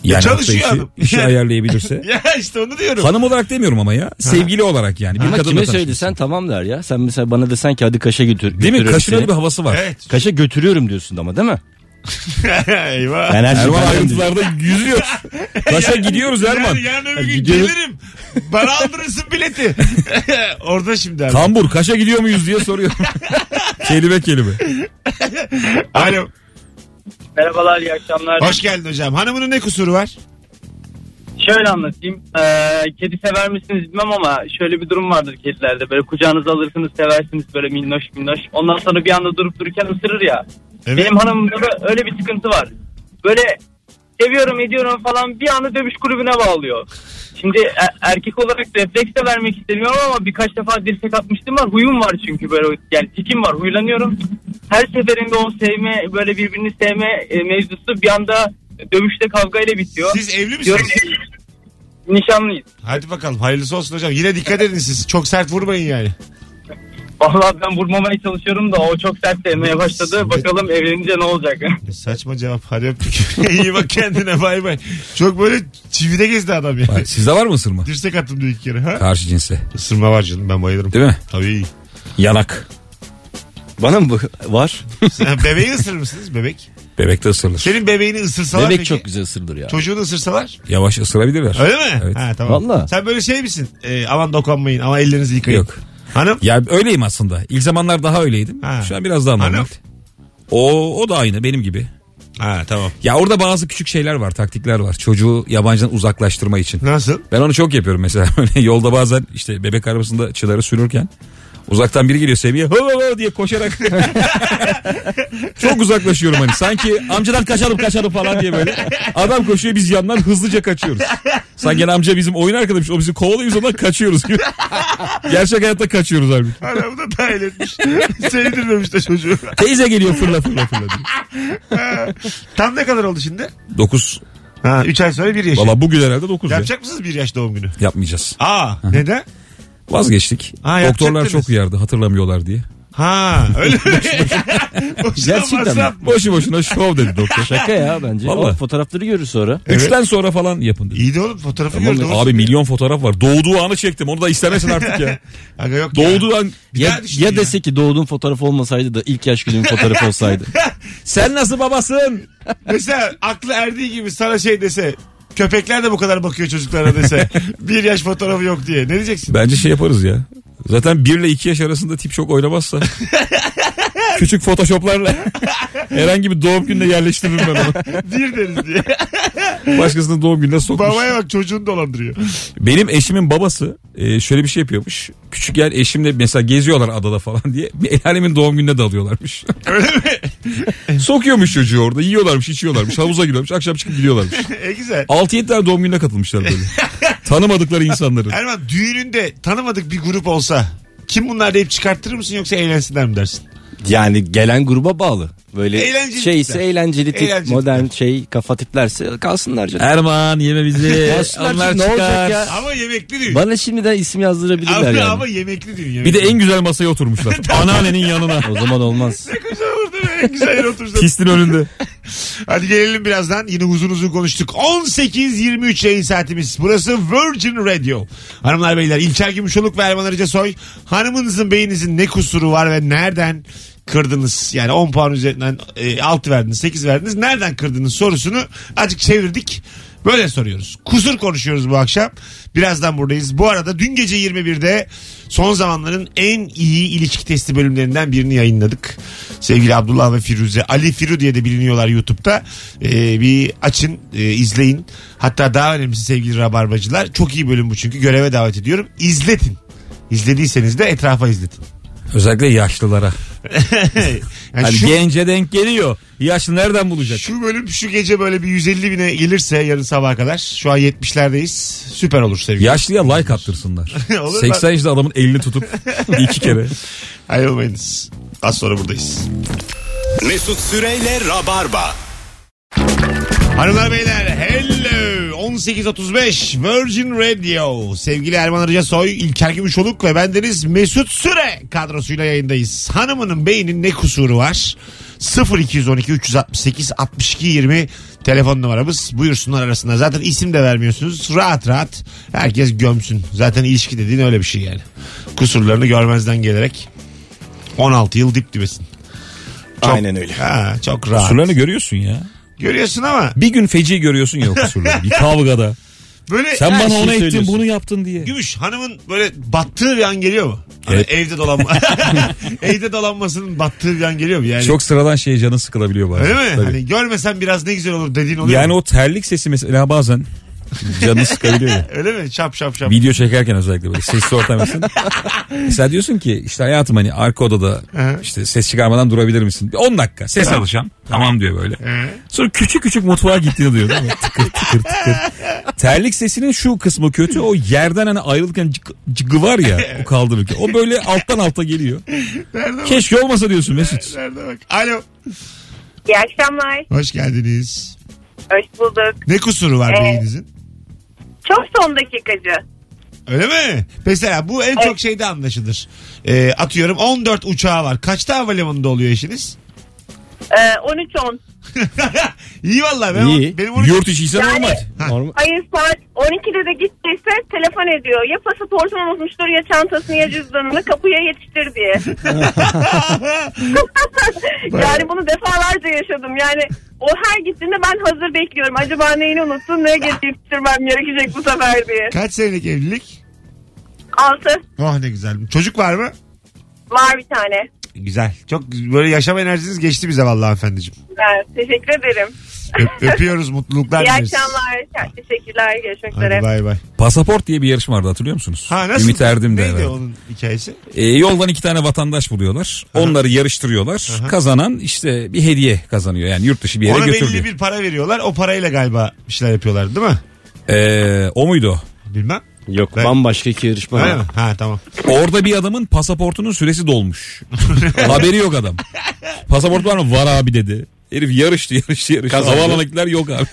Speaker 3: Yani
Speaker 2: Çalışıyor
Speaker 3: hafta içi
Speaker 2: adam.
Speaker 3: işi
Speaker 2: Yani-
Speaker 3: ayarlayabilirse.
Speaker 2: Ya işte onu diyorum.
Speaker 3: Hanım olarak demiyorum ama ya. Sevgili olarak yani. Bir
Speaker 4: Ama
Speaker 3: kadınla
Speaker 4: kime
Speaker 3: tanışmışsın.
Speaker 4: söylesen tamam der ya. Sen mesela bana desen ki hadi kaşa götür.
Speaker 3: Değil mi?
Speaker 4: götürüyorum
Speaker 3: Kaşın
Speaker 4: seni.
Speaker 3: öyle bir havası var.
Speaker 2: Evet.
Speaker 4: Kaşa götürüyorum diyorsun ama değil mi?
Speaker 2: Eyvah.
Speaker 4: Ben her şeyi
Speaker 3: Erman
Speaker 4: benden
Speaker 3: ayrıntılarda yüzüyor. Kaş'a gidiyoruz Erman.
Speaker 2: Yarın, yarın öbür gün
Speaker 4: Gidiyorum.
Speaker 2: gelirim. Bana aldırırsın bileti. Orada şimdi abi.
Speaker 3: Kambur Kaş'a gidiyor muyuz diye soruyor. kelime kelime.
Speaker 2: Alo.
Speaker 7: Merhabalar, iyi akşamlar.
Speaker 2: Hoş geldin hocam. Hanımının ne kusuru var?
Speaker 7: Şöyle anlatayım. Ee, kedi sever misiniz bilmem ama şöyle bir durum vardır kedilerde. Böyle kucağınıza alırsınız, seversiniz böyle minnoş minnoş. Ondan sonra bir anda durup dururken ısırır ya.
Speaker 2: Evet.
Speaker 7: Benim hanımımda da öyle bir sıkıntı var. Böyle seviyorum ediyorum falan bir anda dövüş kulübüne bağlıyor. Şimdi e- erkek olarak refleks de vermek istemiyorum ama birkaç defa dirsek atmıştım var. Huyum var çünkü böyle yani tikim var huylanıyorum. Her seferinde o sevme böyle birbirini sevme e, mevzusu bir anda dövüşte kavgayla bitiyor.
Speaker 2: Siz evli
Speaker 7: Diyorum
Speaker 2: misiniz?
Speaker 7: ki, Nişanlıyız.
Speaker 2: Hadi bakalım hayırlısı olsun hocam. Yine dikkat edin siz. Çok sert vurmayın yani.
Speaker 7: Vallahi ben vurmamaya çalışıyorum da o çok sert sevmeye başladı. Bakalım evlenince ne olacak?
Speaker 2: Ne saçma cevap. Hadi öptük. İyi bak kendine bay bay. Çok böyle çivide gezdi adam yani.
Speaker 3: Bak, Sizde var mı ısırma?
Speaker 2: Dirsek attım diyor iki kere. Ha?
Speaker 3: Karşı cinse.
Speaker 2: Isırma var canım ben bayılırım.
Speaker 3: Değil mi?
Speaker 2: Tabii.
Speaker 3: Yanak.
Speaker 4: Bana mı bu? Var.
Speaker 2: Sen Bebeği ısırır mısınız bebek?
Speaker 3: Bebek de ısırılır.
Speaker 2: Senin bebeğini ısırsalar
Speaker 4: Bebek
Speaker 2: peki?
Speaker 4: çok güzel ısırılır ya.
Speaker 2: Çocuğunu ısırsalar
Speaker 3: Yavaş ısırabilirler.
Speaker 2: öyle mi?
Speaker 3: Evet.
Speaker 2: Ha, tamam.
Speaker 4: Vallahi.
Speaker 2: Sen böyle şey misin? Ee, aman dokunmayın ama ellerinizi yıkayın.
Speaker 3: Yok.
Speaker 2: Hanım?
Speaker 3: Ya öyleyim aslında. İlk zamanlar daha öyleydim.
Speaker 2: Ha. Hani
Speaker 3: Şu an biraz daha normal.
Speaker 2: Hanım?
Speaker 3: O, o da aynı benim gibi.
Speaker 2: Ha tamam.
Speaker 3: Ya orada bazı küçük şeyler var, taktikler var. Çocuğu yabancıdan uzaklaştırma için.
Speaker 2: Nasıl?
Speaker 3: Ben onu çok yapıyorum mesela. Böyle yolda bazen işte bebek arabasında çıları sürürken uzaktan biri geliyor Semih'e ho ho ho diye koşarak çok uzaklaşıyorum hani sanki amcadan kaçalım kaçalım falan diye böyle adam koşuyor biz yandan hızlıca kaçıyoruz sanki yani amca bizim oyun arkadaşımız o bizi kovalıyor biz ondan kaçıyoruz gibi gerçek hayatta kaçıyoruz abi
Speaker 2: Hanım da dahil etmiş. Sevdirmemiş de çocuğu.
Speaker 3: teyze geliyor fırla fırla fırla
Speaker 2: Tam ne kadar oldu şimdi?
Speaker 3: 9
Speaker 2: Ha 3 ay sonra 1 yaş.
Speaker 3: valla bugün herhalde 9 ya.
Speaker 2: Yapacak mısınız 1 yaş doğum günü?
Speaker 3: yapmayacağız
Speaker 2: Aa neden?
Speaker 3: vazgeçtik
Speaker 2: Ha,
Speaker 3: doktorlar
Speaker 2: yapacaktınız.
Speaker 3: çok uyardı hatırlamıyorlar diye
Speaker 2: Ha öyle mi? Boşuna
Speaker 4: Gerçekten mi?
Speaker 2: masraf.
Speaker 3: boşu boşuna şov dedi doktor
Speaker 4: Şaka ya bence.
Speaker 3: Vallahi.
Speaker 4: O fotoğrafları görür sonra.
Speaker 3: Üçten sonra falan yapın dedi.
Speaker 2: İyi de oğlum fotoğrafı
Speaker 3: Tamam
Speaker 2: gördüm.
Speaker 3: da abi milyon fotoğraf var. Doğduğu anı çektim. Onu da istemesin artık ya.
Speaker 2: Aga yok ya.
Speaker 3: Doğduğu an.
Speaker 2: daha
Speaker 4: Ya,
Speaker 2: düşün
Speaker 4: ya
Speaker 2: ya.
Speaker 4: dese ki doğduğun fotoğraf olmasaydı da ilk yaş günün fotoğrafı olsaydı.
Speaker 3: Sen nasıl babasın?
Speaker 2: Mesela aklı erdiği gibi sana şey dese köpekler de bu kadar bakıyor çocuklara dese bir yaş fotoğrafı yok diye ne diyeceksin?
Speaker 3: Bence şey yaparız ya. Zaten 1 ile 2 yaş arasında tip çok oynamazsa. Küçük photoshoplarla herhangi bir doğum gününe yerleştiririm ben onu.
Speaker 2: Bir deriz diye.
Speaker 3: Başkasının doğum gününe sokmuş.
Speaker 2: Babaya bak çocuğunu dolandırıyor.
Speaker 3: Benim eşimin babası e, şöyle bir şey yapıyormuş. Küçükken eşimle mesela geziyorlar adada falan diye. Bir El alemin doğum gününe dalıyorlarmış. Öyle mi? Sokuyormuş çocuğu orada. Yiyorlarmış, içiyorlarmış. Havuza giriyormuş. Akşam çıkıp gidiyorlarmış.
Speaker 2: e güzel.
Speaker 3: 6-7 tane doğum gününe katılmışlar böyle. Tanımadıkları insanları.
Speaker 2: Erman düğününde tanımadık bir grup olsa kim bunlar deyip çıkarttırır mısın yoksa eğlensinler mi dersin?
Speaker 4: Yani gelen gruba bağlı. Böyle
Speaker 2: Eğlenceli
Speaker 4: şeyse
Speaker 2: tipler.
Speaker 4: eğlenceli tip,
Speaker 2: Eğlenceli
Speaker 4: modern şey, kafa tiplerse kalsınlar canım.
Speaker 3: Erman yeme bizi. Onlar
Speaker 4: ne
Speaker 3: çıkar.
Speaker 4: olacak ya?
Speaker 2: Ama yemekli düğün.
Speaker 4: Bana şimdiden isim
Speaker 2: Ama,
Speaker 4: yazdırabilirler yani.
Speaker 2: ama yemekli düğün.
Speaker 3: Bir
Speaker 2: Yemekli.
Speaker 3: de en güzel masaya oturmuşlar. Anneannenin yanına.
Speaker 4: O zaman olmaz.
Speaker 2: güzel olurdu be. En güzel yere otursan.
Speaker 3: Pistin önünde.
Speaker 2: Hadi gelelim birazdan. Yine uzun uzun konuştuk. 18.23 yayın saatimiz. Burası Virgin Radio. Hanımlar beyler İlker Gümüşoluk ve Erman Arıca Soy. Hanımınızın beyninizin ne kusuru var ve nereden kırdınız? Yani 10 puan üzerinden 6 verdiniz 8 verdiniz. Nereden kırdınız sorusunu azıcık çevirdik. Böyle soruyoruz. Kusur konuşuyoruz bu akşam. Birazdan buradayız. Bu arada dün gece 21'de son zamanların en iyi ilişki testi bölümlerinden birini yayınladık. Sevgili Abdullah ve Firuze. Ali Firu diye de biliniyorlar YouTube'da. Ee, bir açın, e, izleyin. Hatta daha önemlisi sevgili Rabarbacılar. Çok iyi bölüm bu çünkü. Göreve davet ediyorum. İzletin. İzlediyseniz de etrafa izletin.
Speaker 3: Özellikle yaşlılara.
Speaker 2: Yani
Speaker 3: Hani
Speaker 2: şu-
Speaker 3: gence denk geliyor. Yaşlı nereden bulacak?
Speaker 2: Şu bölüm şu gece böyle bir 150 bine gelirse yarın sabaha kadar. Şu an 70'lerdeyiz. Süper olur sevgili.
Speaker 3: Yaşlıya like attırsınlar.
Speaker 2: Olur lan.
Speaker 3: 80 yaşında adamın elini tutup iki kere.
Speaker 2: Ayrılmayınız. Az sonra buradayız.
Speaker 1: Mesut Süreyle Rabarba.
Speaker 2: Hanımlar beyler hello 18.35 Virgin Radio sevgili Erman Arıca Soy İlker Gümüşoluk ve bendeniz Mesut Süre kadrosuyla yayındayız. Hanımının beynin ne kusuru var? 0212 368 62 20 telefon numaramız buyursunlar arasında. Zaten isim de vermiyorsunuz. Rahat rahat herkes gömsün. Zaten ilişki dediğin öyle bir şey yani. Kusurlarını görmezden gelerek 16 yıl dip dibesin. Çok-
Speaker 4: Aynen öyle.
Speaker 2: Ha, çok rahat.
Speaker 3: Kusurlarını görüyorsun ya.
Speaker 2: Görüyorsun ama
Speaker 3: Bir gün feci görüyorsun ya o kusurları. Bir kavgada.
Speaker 2: böyle
Speaker 3: Sen
Speaker 4: Her
Speaker 3: bana
Speaker 4: şeyi
Speaker 3: onu ettin
Speaker 4: söylüyorsun.
Speaker 3: bunu yaptın diye.
Speaker 2: Gümüş hanımın böyle battığı bir an geliyor mu? Hani
Speaker 3: Evet.
Speaker 2: evde dolanma. evde dolanmasının battığı bir an geliyor mu? Yani
Speaker 3: Çok sıradan şeye canın sıkılabiliyor bazen.
Speaker 2: Öyle mi?
Speaker 3: Tabii.
Speaker 2: Hani görmesen biraz ne güzel olur dediğin oluyor
Speaker 3: Yani
Speaker 2: mu?
Speaker 3: o terlik sesi mesela bazen canı sıkabiliyor. ya.
Speaker 2: Öyle mi? Şap şap şap.
Speaker 3: Video çekerken özellikle böyle sesli ortam için. mesela diyorsun ki işte hayatım hani arka odada
Speaker 2: Hı.
Speaker 3: işte ses çıkarmadan durabilir misin? Bir 10 dakika ses alacağım. Tamam diyor böyle.
Speaker 2: Ee,
Speaker 3: Sonra küçük küçük mutfağa gittiğini duyuyor değil mi? Tıkır tıkır tıkır. Terlik sesinin şu kısmı kötü. O yerden hani ayrılırken cık, cıgı var ya o kaldırırken. O böyle alttan alta geliyor.
Speaker 2: Nerede bak?
Speaker 3: Keşke olmasa diyorsun Mesut.
Speaker 2: Nerede bak? Alo.
Speaker 8: İyi akşamlar.
Speaker 2: Hoş geldiniz.
Speaker 8: Hoş bulduk.
Speaker 2: Ne kusuru var
Speaker 8: Ee,
Speaker 2: beyninizin?
Speaker 8: Çok son dakikacı.
Speaker 2: Öyle mi? Mesela bu en çok şeyde anlaşılır. Ee, atıyorum 14 uçağı var. Kaçta havalimanında oluyor eşiniz?
Speaker 8: Ee, 13-10.
Speaker 2: İyi valla. Ben,
Speaker 4: İyi.
Speaker 2: Benim onu...
Speaker 3: Yurt içi ise normal.
Speaker 4: Normal.
Speaker 8: Hayır saat 12'de de gittiyse telefon ediyor. Ya pasaportunu unutmuştur ya çantasını ya cüzdanını kapıya yetiştir diye. yani bunu defalarca yaşadım. Yani o her gittiğinde ben hazır bekliyorum. Acaba neyini unuttun neye getirip yetiştirmem gerekecek bu sefer diye.
Speaker 2: Kaç senelik evlilik?
Speaker 8: Altı
Speaker 2: Oh ne güzel. Çocuk var mı?
Speaker 8: var bir tane.
Speaker 2: Güzel. Çok böyle yaşam enerjiniz geçti bize vallahi hanımefendiciğim.
Speaker 8: Evet, teşekkür ederim.
Speaker 2: Öp- öpüyoruz mutluluklar
Speaker 8: İyi
Speaker 2: dileriz.
Speaker 8: akşamlar. Teşekkürler. Görüşmek üzere.
Speaker 2: Hadi bay bay.
Speaker 3: Pasaport diye bir yarışma vardı hatırlıyor musunuz?
Speaker 2: Ha nasıl?
Speaker 3: Ümit Erdim de.
Speaker 2: Neydi
Speaker 3: evet.
Speaker 2: onun hikayesi?
Speaker 3: E, yoldan iki tane vatandaş buluyorlar. Onları yarıştırıyorlar. Kazanan işte bir hediye kazanıyor. Yani yurt dışı bir yere
Speaker 2: Ona
Speaker 3: götürülüyor.
Speaker 2: belli bir para veriyorlar. O parayla galiba bir şeyler yapıyorlar değil mi?
Speaker 3: E, o muydu o?
Speaker 2: Bilmem.
Speaker 4: Yok
Speaker 2: Ben-
Speaker 4: bambaşka iki yarışma.
Speaker 2: Öyle mi? Ha tamam.
Speaker 3: Orada bir adamın pasaportunun süresi dolmuş. Haberi yok adam. Pasaport var mı? Var abi dedi. Herif yarıştı yarıştı yarıştı.
Speaker 4: Kazandı.
Speaker 3: Havaalanına gittiler, yok abi.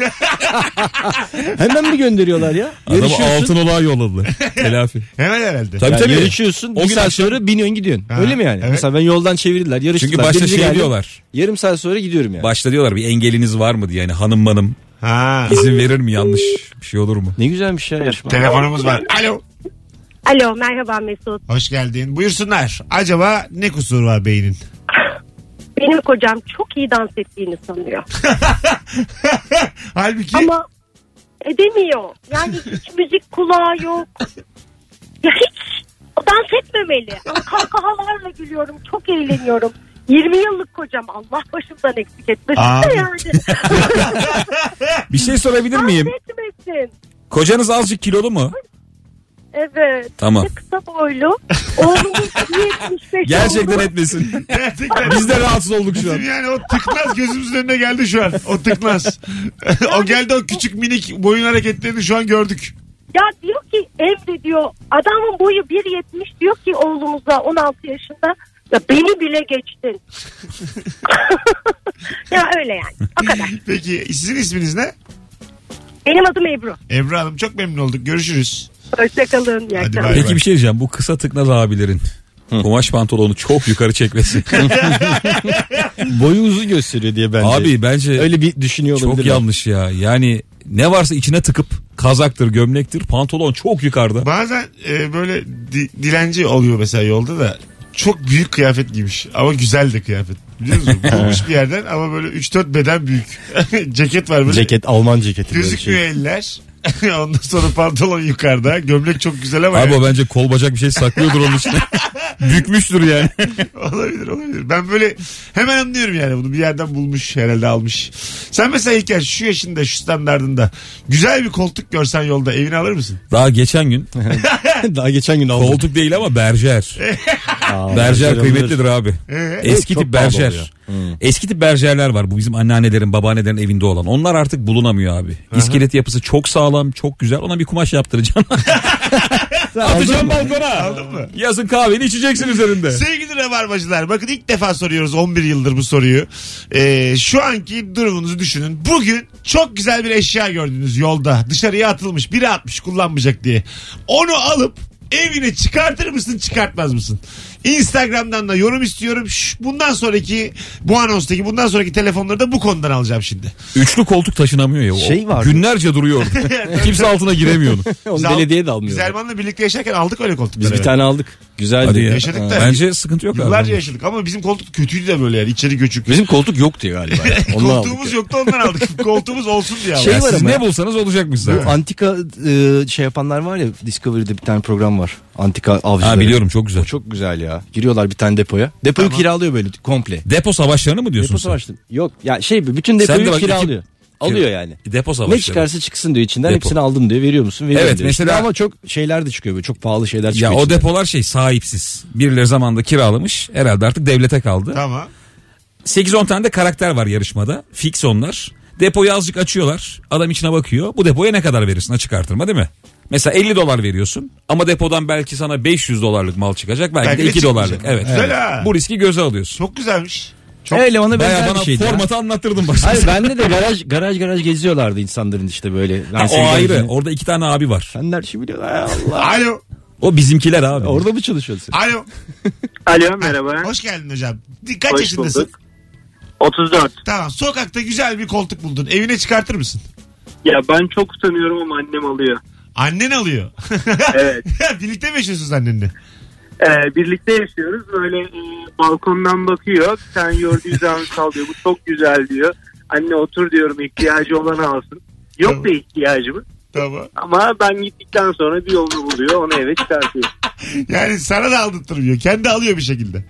Speaker 4: Hemen mi gönderiyorlar ya?
Speaker 3: Adamı
Speaker 4: Yarışıyorsun.
Speaker 3: altın olağa yolladılar. Telafi.
Speaker 2: Hemen herhalde.
Speaker 3: Tabii
Speaker 4: Yani
Speaker 3: tabii.
Speaker 4: yarışıyorsun.
Speaker 3: O
Speaker 4: bir
Speaker 3: gün
Speaker 4: saat
Speaker 3: akşam-
Speaker 4: sonra biniyorsun gidiyorsun.
Speaker 2: Ha,
Speaker 4: Öyle mi yani?
Speaker 2: evet.
Speaker 4: Mesela ben yoldan çevirdiler. Yarıştılar.
Speaker 3: Çünkü başta
Speaker 4: Birinci
Speaker 3: şey
Speaker 4: geldim,
Speaker 3: diyorlar.
Speaker 4: Yarım saat sonra gidiyorum yani.
Speaker 3: Başta diyorlar bir engeliniz var mı diye. Yani hanım hanım
Speaker 2: Ha.
Speaker 3: izin verir mi yanlış bir şey olur mu?
Speaker 4: Ne güzelmiş ya yarışma.
Speaker 2: Telefonumuz var. Alo.
Speaker 9: Alo merhaba Mesut.
Speaker 2: Hoş geldin. Buyursunlar. Acaba ne kusur var beynin?
Speaker 9: Benim kocam çok iyi dans ettiğini sanıyor.
Speaker 2: Halbuki
Speaker 9: Ama edemiyor. Yani hiç müzik kulağı yok. Ya hiç o dans etmemeli. Ama kahkahalarla gülüyorum. Çok eğleniyorum. 20 yıllık kocam Allah başımdan eksik etmesin de
Speaker 2: Abi.
Speaker 9: yani.
Speaker 3: Bir şey sorabilir
Speaker 9: dans
Speaker 3: miyim?
Speaker 9: etmesin.
Speaker 3: Kocanız azıcık kilolu mu?
Speaker 9: Evet.
Speaker 3: Tamam.
Speaker 9: Bir de Kısa boylu. Oğlumuz 75
Speaker 3: Gerçekten
Speaker 9: oldu.
Speaker 3: etmesin.
Speaker 2: gerçekten
Speaker 3: Biz de rahatsız olduk şu an.
Speaker 2: Bizim yani o tıknaz gözümüzün önüne geldi şu an. O tıknaz. o geldi o küçük minik boyun hareketlerini şu an gördük.
Speaker 9: Ya diyor ki evde diyor adamın boyu 1.70 diyor ki oğlumuza 16 yaşında ya beni bile geçtin. ya öyle yani o kadar.
Speaker 2: Peki sizin isminiz ne?
Speaker 9: Benim adım Ebru.
Speaker 2: Ebru Hanım çok memnun olduk. Görüşürüz.
Speaker 9: Hoşçakalın. iyi
Speaker 2: Hadi
Speaker 9: akşamlar.
Speaker 2: bay bay.
Speaker 3: Peki bir şey diyeceğim. Bu kısa tıknaz abilerin kumaş pantolonu çok yukarı çekmesi.
Speaker 4: Boyu uzun gösteriyor diye bence.
Speaker 3: Abi bence
Speaker 4: Öyle bir düşünüyor
Speaker 3: çok
Speaker 4: olabilir.
Speaker 3: yanlış ya. Yani ne varsa içine tıkıp kazaktır, gömlektir, pantolon çok yukarıda.
Speaker 2: Bazen e, böyle di- dilenci oluyor mesela yolda da çok büyük kıyafet giymiş ama güzel de kıyafet. Biliyor musun? Bulmuş bir yerden ama böyle 3-4 beden büyük. Ceket var böyle.
Speaker 4: Ceket Alman ceketi. böyle
Speaker 2: Gözükmüyor
Speaker 4: şey.
Speaker 2: eller. Ondan sonra pantolon yukarıda. Gömlek çok güzel ama
Speaker 3: Abi
Speaker 2: yani-
Speaker 3: o bence kol bacak bir şey saklıyordur onun içine. Bükmüştür yani.
Speaker 2: olabilir olabilir. Ben böyle hemen anlıyorum yani bunu bir yerden bulmuş herhalde almış. Sen mesela İlker şu yaşında şu standartında güzel bir koltuk görsen yolda evine alır mısın?
Speaker 3: Daha geçen gün
Speaker 4: Daha geçen gün aldım.
Speaker 3: koltuk değil ama berjer.
Speaker 4: Aa,
Speaker 3: Berjer
Speaker 4: alınır.
Speaker 3: kıymetlidir abi.
Speaker 2: Ee?
Speaker 3: Eski
Speaker 4: çok
Speaker 3: tip
Speaker 4: pahalı
Speaker 3: berjer.
Speaker 4: oluyor.
Speaker 3: Eski tip berjerler var. Bu bizim anneannelerin, babaannelerin evinde olan. Onlar artık bulunamıyor abi. İskelet yapısı çok sağlam, çok güzel. Ona bir kumaş yaptıracağım. Atacağım balkona.
Speaker 2: Aldın mı?
Speaker 3: Yazın kahveni içeceksin üzerinde.
Speaker 2: Sevgili Rabarbacılar bakın ilk defa soruyoruz 11 yıldır bu soruyu. Ee, şu anki durumunuzu düşünün. Bugün çok güzel bir eşya gördünüz yolda. Dışarıya atılmış biri atmış kullanmayacak diye. Onu alıp evine çıkartır mısın çıkartmaz mısın? Instagram'dan da yorum istiyorum. Şu- bundan sonraki bu anonstaki bundan sonraki telefonları da bu konudan alacağım şimdi.
Speaker 3: Üçlü koltuk taşınamıyor ya. O
Speaker 4: Şey vardı.
Speaker 3: Günlerce duruyor. Kimse altına giremiyor onu.
Speaker 4: Onu
Speaker 2: Biz al-
Speaker 4: belediye de almıyor.
Speaker 2: Biz Erman'la birlikte yaşarken aldık öyle koltukları.
Speaker 4: Biz bir tane aldık.
Speaker 3: Hadi
Speaker 4: Güzeldi.
Speaker 3: ya.
Speaker 2: Yaşadık da.
Speaker 3: Bence sıkıntı yok
Speaker 2: Yıllarca
Speaker 3: abi.
Speaker 2: yaşadık ama bizim koltuk kötüydü de böyle yani içeri göçük.
Speaker 4: Bizim koltuk yoktu galiba. ya. Ondan aldık.
Speaker 2: Koltuğumuz yoktu ondan aldık. Koltuğumuz olsun diye aldık.
Speaker 4: Şey
Speaker 3: Ya
Speaker 4: var
Speaker 3: siz
Speaker 4: ama
Speaker 3: ne
Speaker 4: ya.
Speaker 3: bulsanız olacakmış
Speaker 4: Bu
Speaker 3: zaten.
Speaker 4: antika e, şey yapanlar var ya Discovery'de bir tane program var. Antika avcıları.
Speaker 3: Ha biliyorum çok güzel.
Speaker 4: O çok güzel ya. Giriyorlar bir tane depoya. Depoyu kiralıyor böyle komple.
Speaker 3: Depo savaşlarını mı diyorsun
Speaker 4: Depo
Speaker 3: sen?
Speaker 4: savaştı. Yok ya şey bütün
Speaker 3: Sen de
Speaker 4: depoyu
Speaker 3: bak iki-
Speaker 4: kiralıyor. Alıyor yani.
Speaker 3: Şey, Depo savaşları.
Speaker 4: Ne çıkarsa çıksın diyor içinden
Speaker 3: Depo.
Speaker 4: hepsini aldım diyor veriyor musun? Veriyorum
Speaker 3: Evet,
Speaker 4: diyor. İşte
Speaker 3: mesela-
Speaker 4: ama çok şeyler de çıkıyor böyle çok pahalı şeyler çıkıyor.
Speaker 3: Ya o
Speaker 4: içinden.
Speaker 3: depolar şey sahipsiz. Birileri zamanında kiralamış. Herhalde artık devlete kaldı.
Speaker 2: Tamam.
Speaker 3: 8-10 tane de karakter var yarışmada. Fix onlar. Depoyu azıcık açıyorlar. Adam içine bakıyor. Bu depoya ne kadar verirsin açık artırma değil mi? Mesela 50 dolar veriyorsun ama depodan belki sana 500 dolarlık mal çıkacak. Belki,
Speaker 2: Belki
Speaker 3: de
Speaker 2: de
Speaker 3: 2 dolarlık.
Speaker 2: çıkmayacak.
Speaker 3: Evet.
Speaker 2: Güzel ha.
Speaker 3: Bu riski göze alıyorsun.
Speaker 2: Çok güzelmiş.
Speaker 4: Çok Öyle ona
Speaker 3: Baya
Speaker 4: benzer
Speaker 3: bana
Speaker 4: bir şey şeydi. ya.
Speaker 3: formatı anlattırdın bak.
Speaker 4: Hayır bende de garaj garaj garaj geziyorlardı insanların işte böyle.
Speaker 3: Ha,
Speaker 4: Yani
Speaker 3: o
Speaker 4: senin
Speaker 3: ayrı.
Speaker 4: garajını-
Speaker 3: Orada iki tane abi var.
Speaker 4: Sen her şeyi biliyorsun. Ay Allah.
Speaker 2: Alo.
Speaker 3: O bizimkiler abi.
Speaker 4: Orada mı çalışıyorsun?
Speaker 2: Alo.
Speaker 7: Alo merhaba.
Speaker 2: Hoş geldin hocam. Di- Kaç
Speaker 7: Hoş
Speaker 2: yaşındasın?
Speaker 7: bulduk.
Speaker 6: 34.
Speaker 2: Tamam sokakta güzel bir koltuk buldun. Evine çıkartır mısın?
Speaker 6: Ya ben çok utanıyorum ama annem alıyor.
Speaker 2: Annen alıyor.
Speaker 6: Evet.
Speaker 2: Birlikte mi yaşıyorsunuz annenle?
Speaker 6: Ee, birlikte yaşıyoruz. Böyle e, balkondan bakıyor. Sen yoğurdu yüzden sal diyor. Bu çok güzel diyor. Anne otur diyorum ihtiyacı olanı alsın. Yok da ihtiyacımız.
Speaker 2: Tamam.
Speaker 6: Ama ben gittikten sonra bir yolunu buluyor. Onu eve çıkartıyor.
Speaker 2: Yani sana da aldırtmıyor. Kendi alıyor bir şekilde.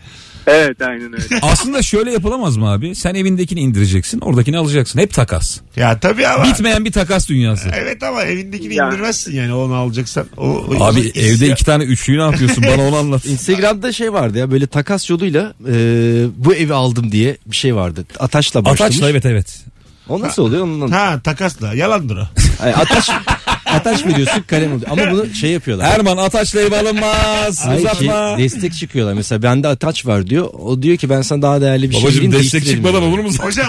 Speaker 6: Evet aynen öyle.
Speaker 3: Aslında şöyle yapılamaz mı abi? Sen evindekini indireceksin, oradakini alacaksın. Hep takas.
Speaker 2: Ya tabii ama.
Speaker 3: Bitmeyen bir takas dünyası.
Speaker 2: Evet ama evindekini
Speaker 6: Ya.
Speaker 2: indirmezsin yani onu alacaksan. O, o-
Speaker 3: Abi
Speaker 2: o-
Speaker 3: evde iki tane üçlüyü ne yapıyorsun? Bana onu anlat.
Speaker 4: Instagram'da şey vardı ya böyle takas yoluyla e, bu evi aldım diye bir şey vardı. Ataş'la başlamış.
Speaker 3: Ataçla evet evet.
Speaker 4: O nasıl oluyor? Ondan...
Speaker 2: Ha takasla yalandır o.
Speaker 4: Ay, ataş, ataş veriyorsun kalem oluyor. Ama bunu şey yapıyorlar.
Speaker 3: Erman Ataçla ev alınmaz.
Speaker 4: Hayır ki
Speaker 3: Uzatma.
Speaker 4: destek çıkıyorlar. Mesela bende ataç var diyor. O diyor ki ben sana daha değerli bir şey
Speaker 3: Babacım
Speaker 4: vereyim,
Speaker 3: destek
Speaker 4: değiştirelim
Speaker 3: çıkmadan
Speaker 4: diyor.
Speaker 3: olur mu?
Speaker 2: Hocam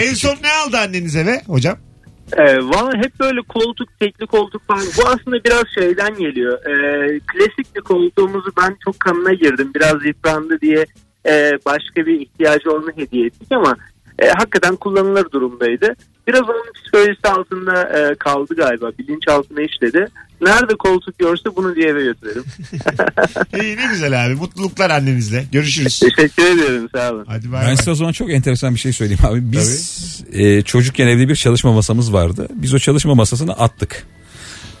Speaker 2: en son ne aldı anneniz eve hocam?
Speaker 6: Ee, Valla hep böyle koltuk, tekli koltuk falan. Bu aslında biraz şeyden geliyor. Ee, klasik bir koltuğumuzu ben çok kanına girdim. Biraz yıprandı diye e, başka bir ihtiyacı olanı hediye ettik ama e, hakikaten kullanılır durumdaydı. Biraz onun psikolojisi altında e, kaldı galiba. Bilinç altına işledi. Nerede koltuk görse bunu diye eve götürelim.
Speaker 2: İyi ne güzel abi. Mutluluklar annenizle. Görüşürüz.
Speaker 6: Teşekkür ederim sağ olun.
Speaker 2: Hadi bay
Speaker 3: Ben
Speaker 2: bay.
Speaker 3: size o zaman çok enteresan bir şey söyleyeyim abi. Biz e, çocukken evde bir çalışma masamız vardı. Biz o çalışma masasını attık.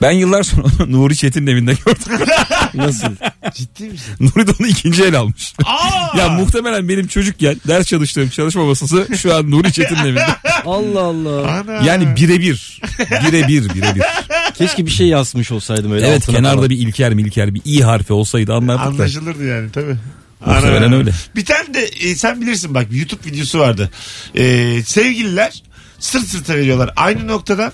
Speaker 3: Ben yıllar sonra onu Nuri Çetin'in evinde gördüm.
Speaker 4: Nasıl?
Speaker 2: Ciddi misin?
Speaker 3: Nuri de onu ikinci el almış.
Speaker 2: Aa!
Speaker 3: Ya muhtemelen benim çocukken ders çalıştığım çalışma masası şu an Nuri Çetin'in evinde.
Speaker 4: Allah Allah.
Speaker 2: Ana.
Speaker 3: Yani birebir. Birebir birebir.
Speaker 4: Keşke bir şey yazmış olsaydım öyle.
Speaker 3: Evet
Speaker 4: altına
Speaker 3: kenarda
Speaker 4: falan.
Speaker 3: bir ilker milker bir i harfi olsaydı anlardık da.
Speaker 2: Anlaşılırdı yani tabii.
Speaker 3: Muhtemelen
Speaker 2: Ana.
Speaker 3: öyle.
Speaker 2: Bir tane de e, sen bilirsin bak YouTube videosu vardı. Ee, sevgililer sırt sırta veriyorlar. Aynı noktadan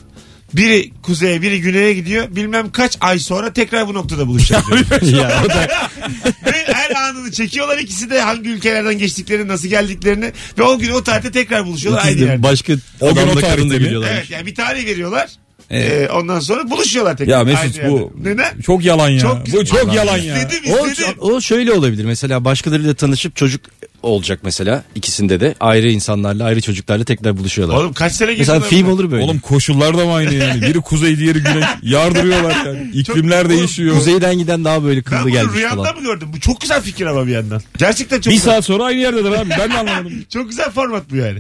Speaker 2: biri kuzeye biri güneye gidiyor. Bilmem kaç ay sonra tekrar bu noktada buluşacak. diyor.
Speaker 4: ya, o da
Speaker 2: ve her anını çekiyorlar. ikisi de hangi ülkelerden geçtiklerini, nasıl geldiklerini ve o gün o tarihte tekrar buluşuyorlar aynı
Speaker 4: ikisi de
Speaker 2: yerde.
Speaker 4: başka
Speaker 3: O gün o
Speaker 4: adamla
Speaker 3: tarihte
Speaker 4: karın da
Speaker 3: mi?
Speaker 4: biliyorlar.
Speaker 2: Evet yani bir tarih veriyorlar.
Speaker 3: Evet.
Speaker 2: Ee, ondan sonra buluşuyorlar tekrar.
Speaker 3: Ya Mesut
Speaker 2: aynı
Speaker 3: bu
Speaker 2: yerde. Neden?
Speaker 3: çok yalan ya.
Speaker 2: Çok güzel.
Speaker 3: bu çok
Speaker 2: Vallahi
Speaker 3: yalan ya.
Speaker 2: İzledim
Speaker 4: O,
Speaker 2: izledim.
Speaker 4: o şöyle olabilir mesela başkalarıyla tanışıp çocuk olacak mesela ikisinde de ayrı insanlarla ayrı çocuklarla tekrar buluşuyorlar.
Speaker 2: Oğlum kaç sene geçti.
Speaker 4: mesela
Speaker 2: lan
Speaker 4: film
Speaker 2: bundan?
Speaker 4: olur böyle.
Speaker 3: Oğlum koşullar da mı aynı yani? Biri kuzey diğeri güney. Yardırıyorlar yani. İklimler
Speaker 2: Çok-
Speaker 3: değişiyor.
Speaker 4: Kuzeyden giden daha böyle
Speaker 2: Ben
Speaker 4: kıllı
Speaker 2: bunu
Speaker 4: gelmiş
Speaker 2: rüyamda
Speaker 4: falan.
Speaker 2: mı gördüm? Bu çok güzel fikir ama bir yandan. Gerçekten çok
Speaker 3: Bir
Speaker 2: güzel.
Speaker 3: saat sonra aynı yerdedir abi. Ben de anlamadım.
Speaker 2: Çok güzel format bu yani.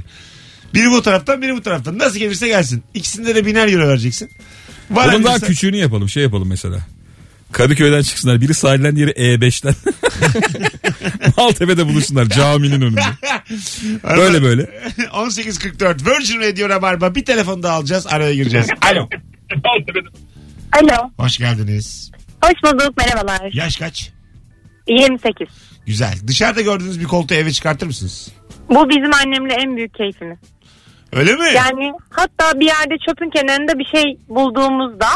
Speaker 2: Biri bu taraftan biri bu taraftan. Nasıl gelirse gelsin. İkisinde de biner euro vereceksin. Var
Speaker 3: Onun daha
Speaker 2: insan-
Speaker 3: küçüğünü yapalım. Şey yapalım mesela. Kadıköy'den çıksınlar. Biri sahilden diğeri E5'ten. Maltepe'de buluşsunlar caminin önünde. Böyle böyle.
Speaker 2: 18.44 Virgin Radio Rabarba. Bir telefon daha alacağız. Araya gireceğiz. Alo.
Speaker 5: Alo.
Speaker 2: Hoş geldiniz.
Speaker 5: Hoş bulduk. Merhabalar.
Speaker 2: Yaş kaç?
Speaker 5: 28.
Speaker 2: Güzel. Dışarıda gördüğünüz bir koltuğu eve çıkartır mısınız?
Speaker 5: Bu bizim annemle en büyük keyfimiz.
Speaker 2: Öyle mi?
Speaker 5: Yani hatta bir yerde çöpün kenarında bir şey bulduğumuzda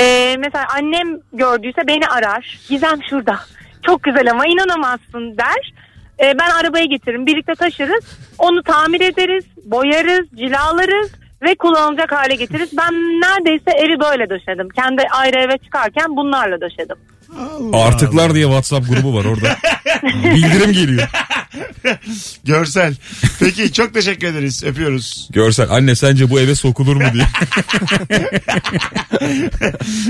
Speaker 5: e, mesela annem gördüyse beni arar. Gizem şurada. Çok güzel ama inanamazsın der. E, ben arabaya getiririm. Birlikte taşırız. Onu tamir ederiz, boyarız, cilalarız ve kullanılacak hale getiririz. Ben neredeyse evi böyle döşedim. Kendi ayrı eve çıkarken bunlarla döşedim.
Speaker 2: Allah
Speaker 3: Artıklar diye WhatsApp grubu var orada. Bildirim geliyor.
Speaker 2: Görsel. Peki çok teşekkür ederiz. Öpüyoruz.
Speaker 3: Görsel anne sence bu eve sokulur mu diye.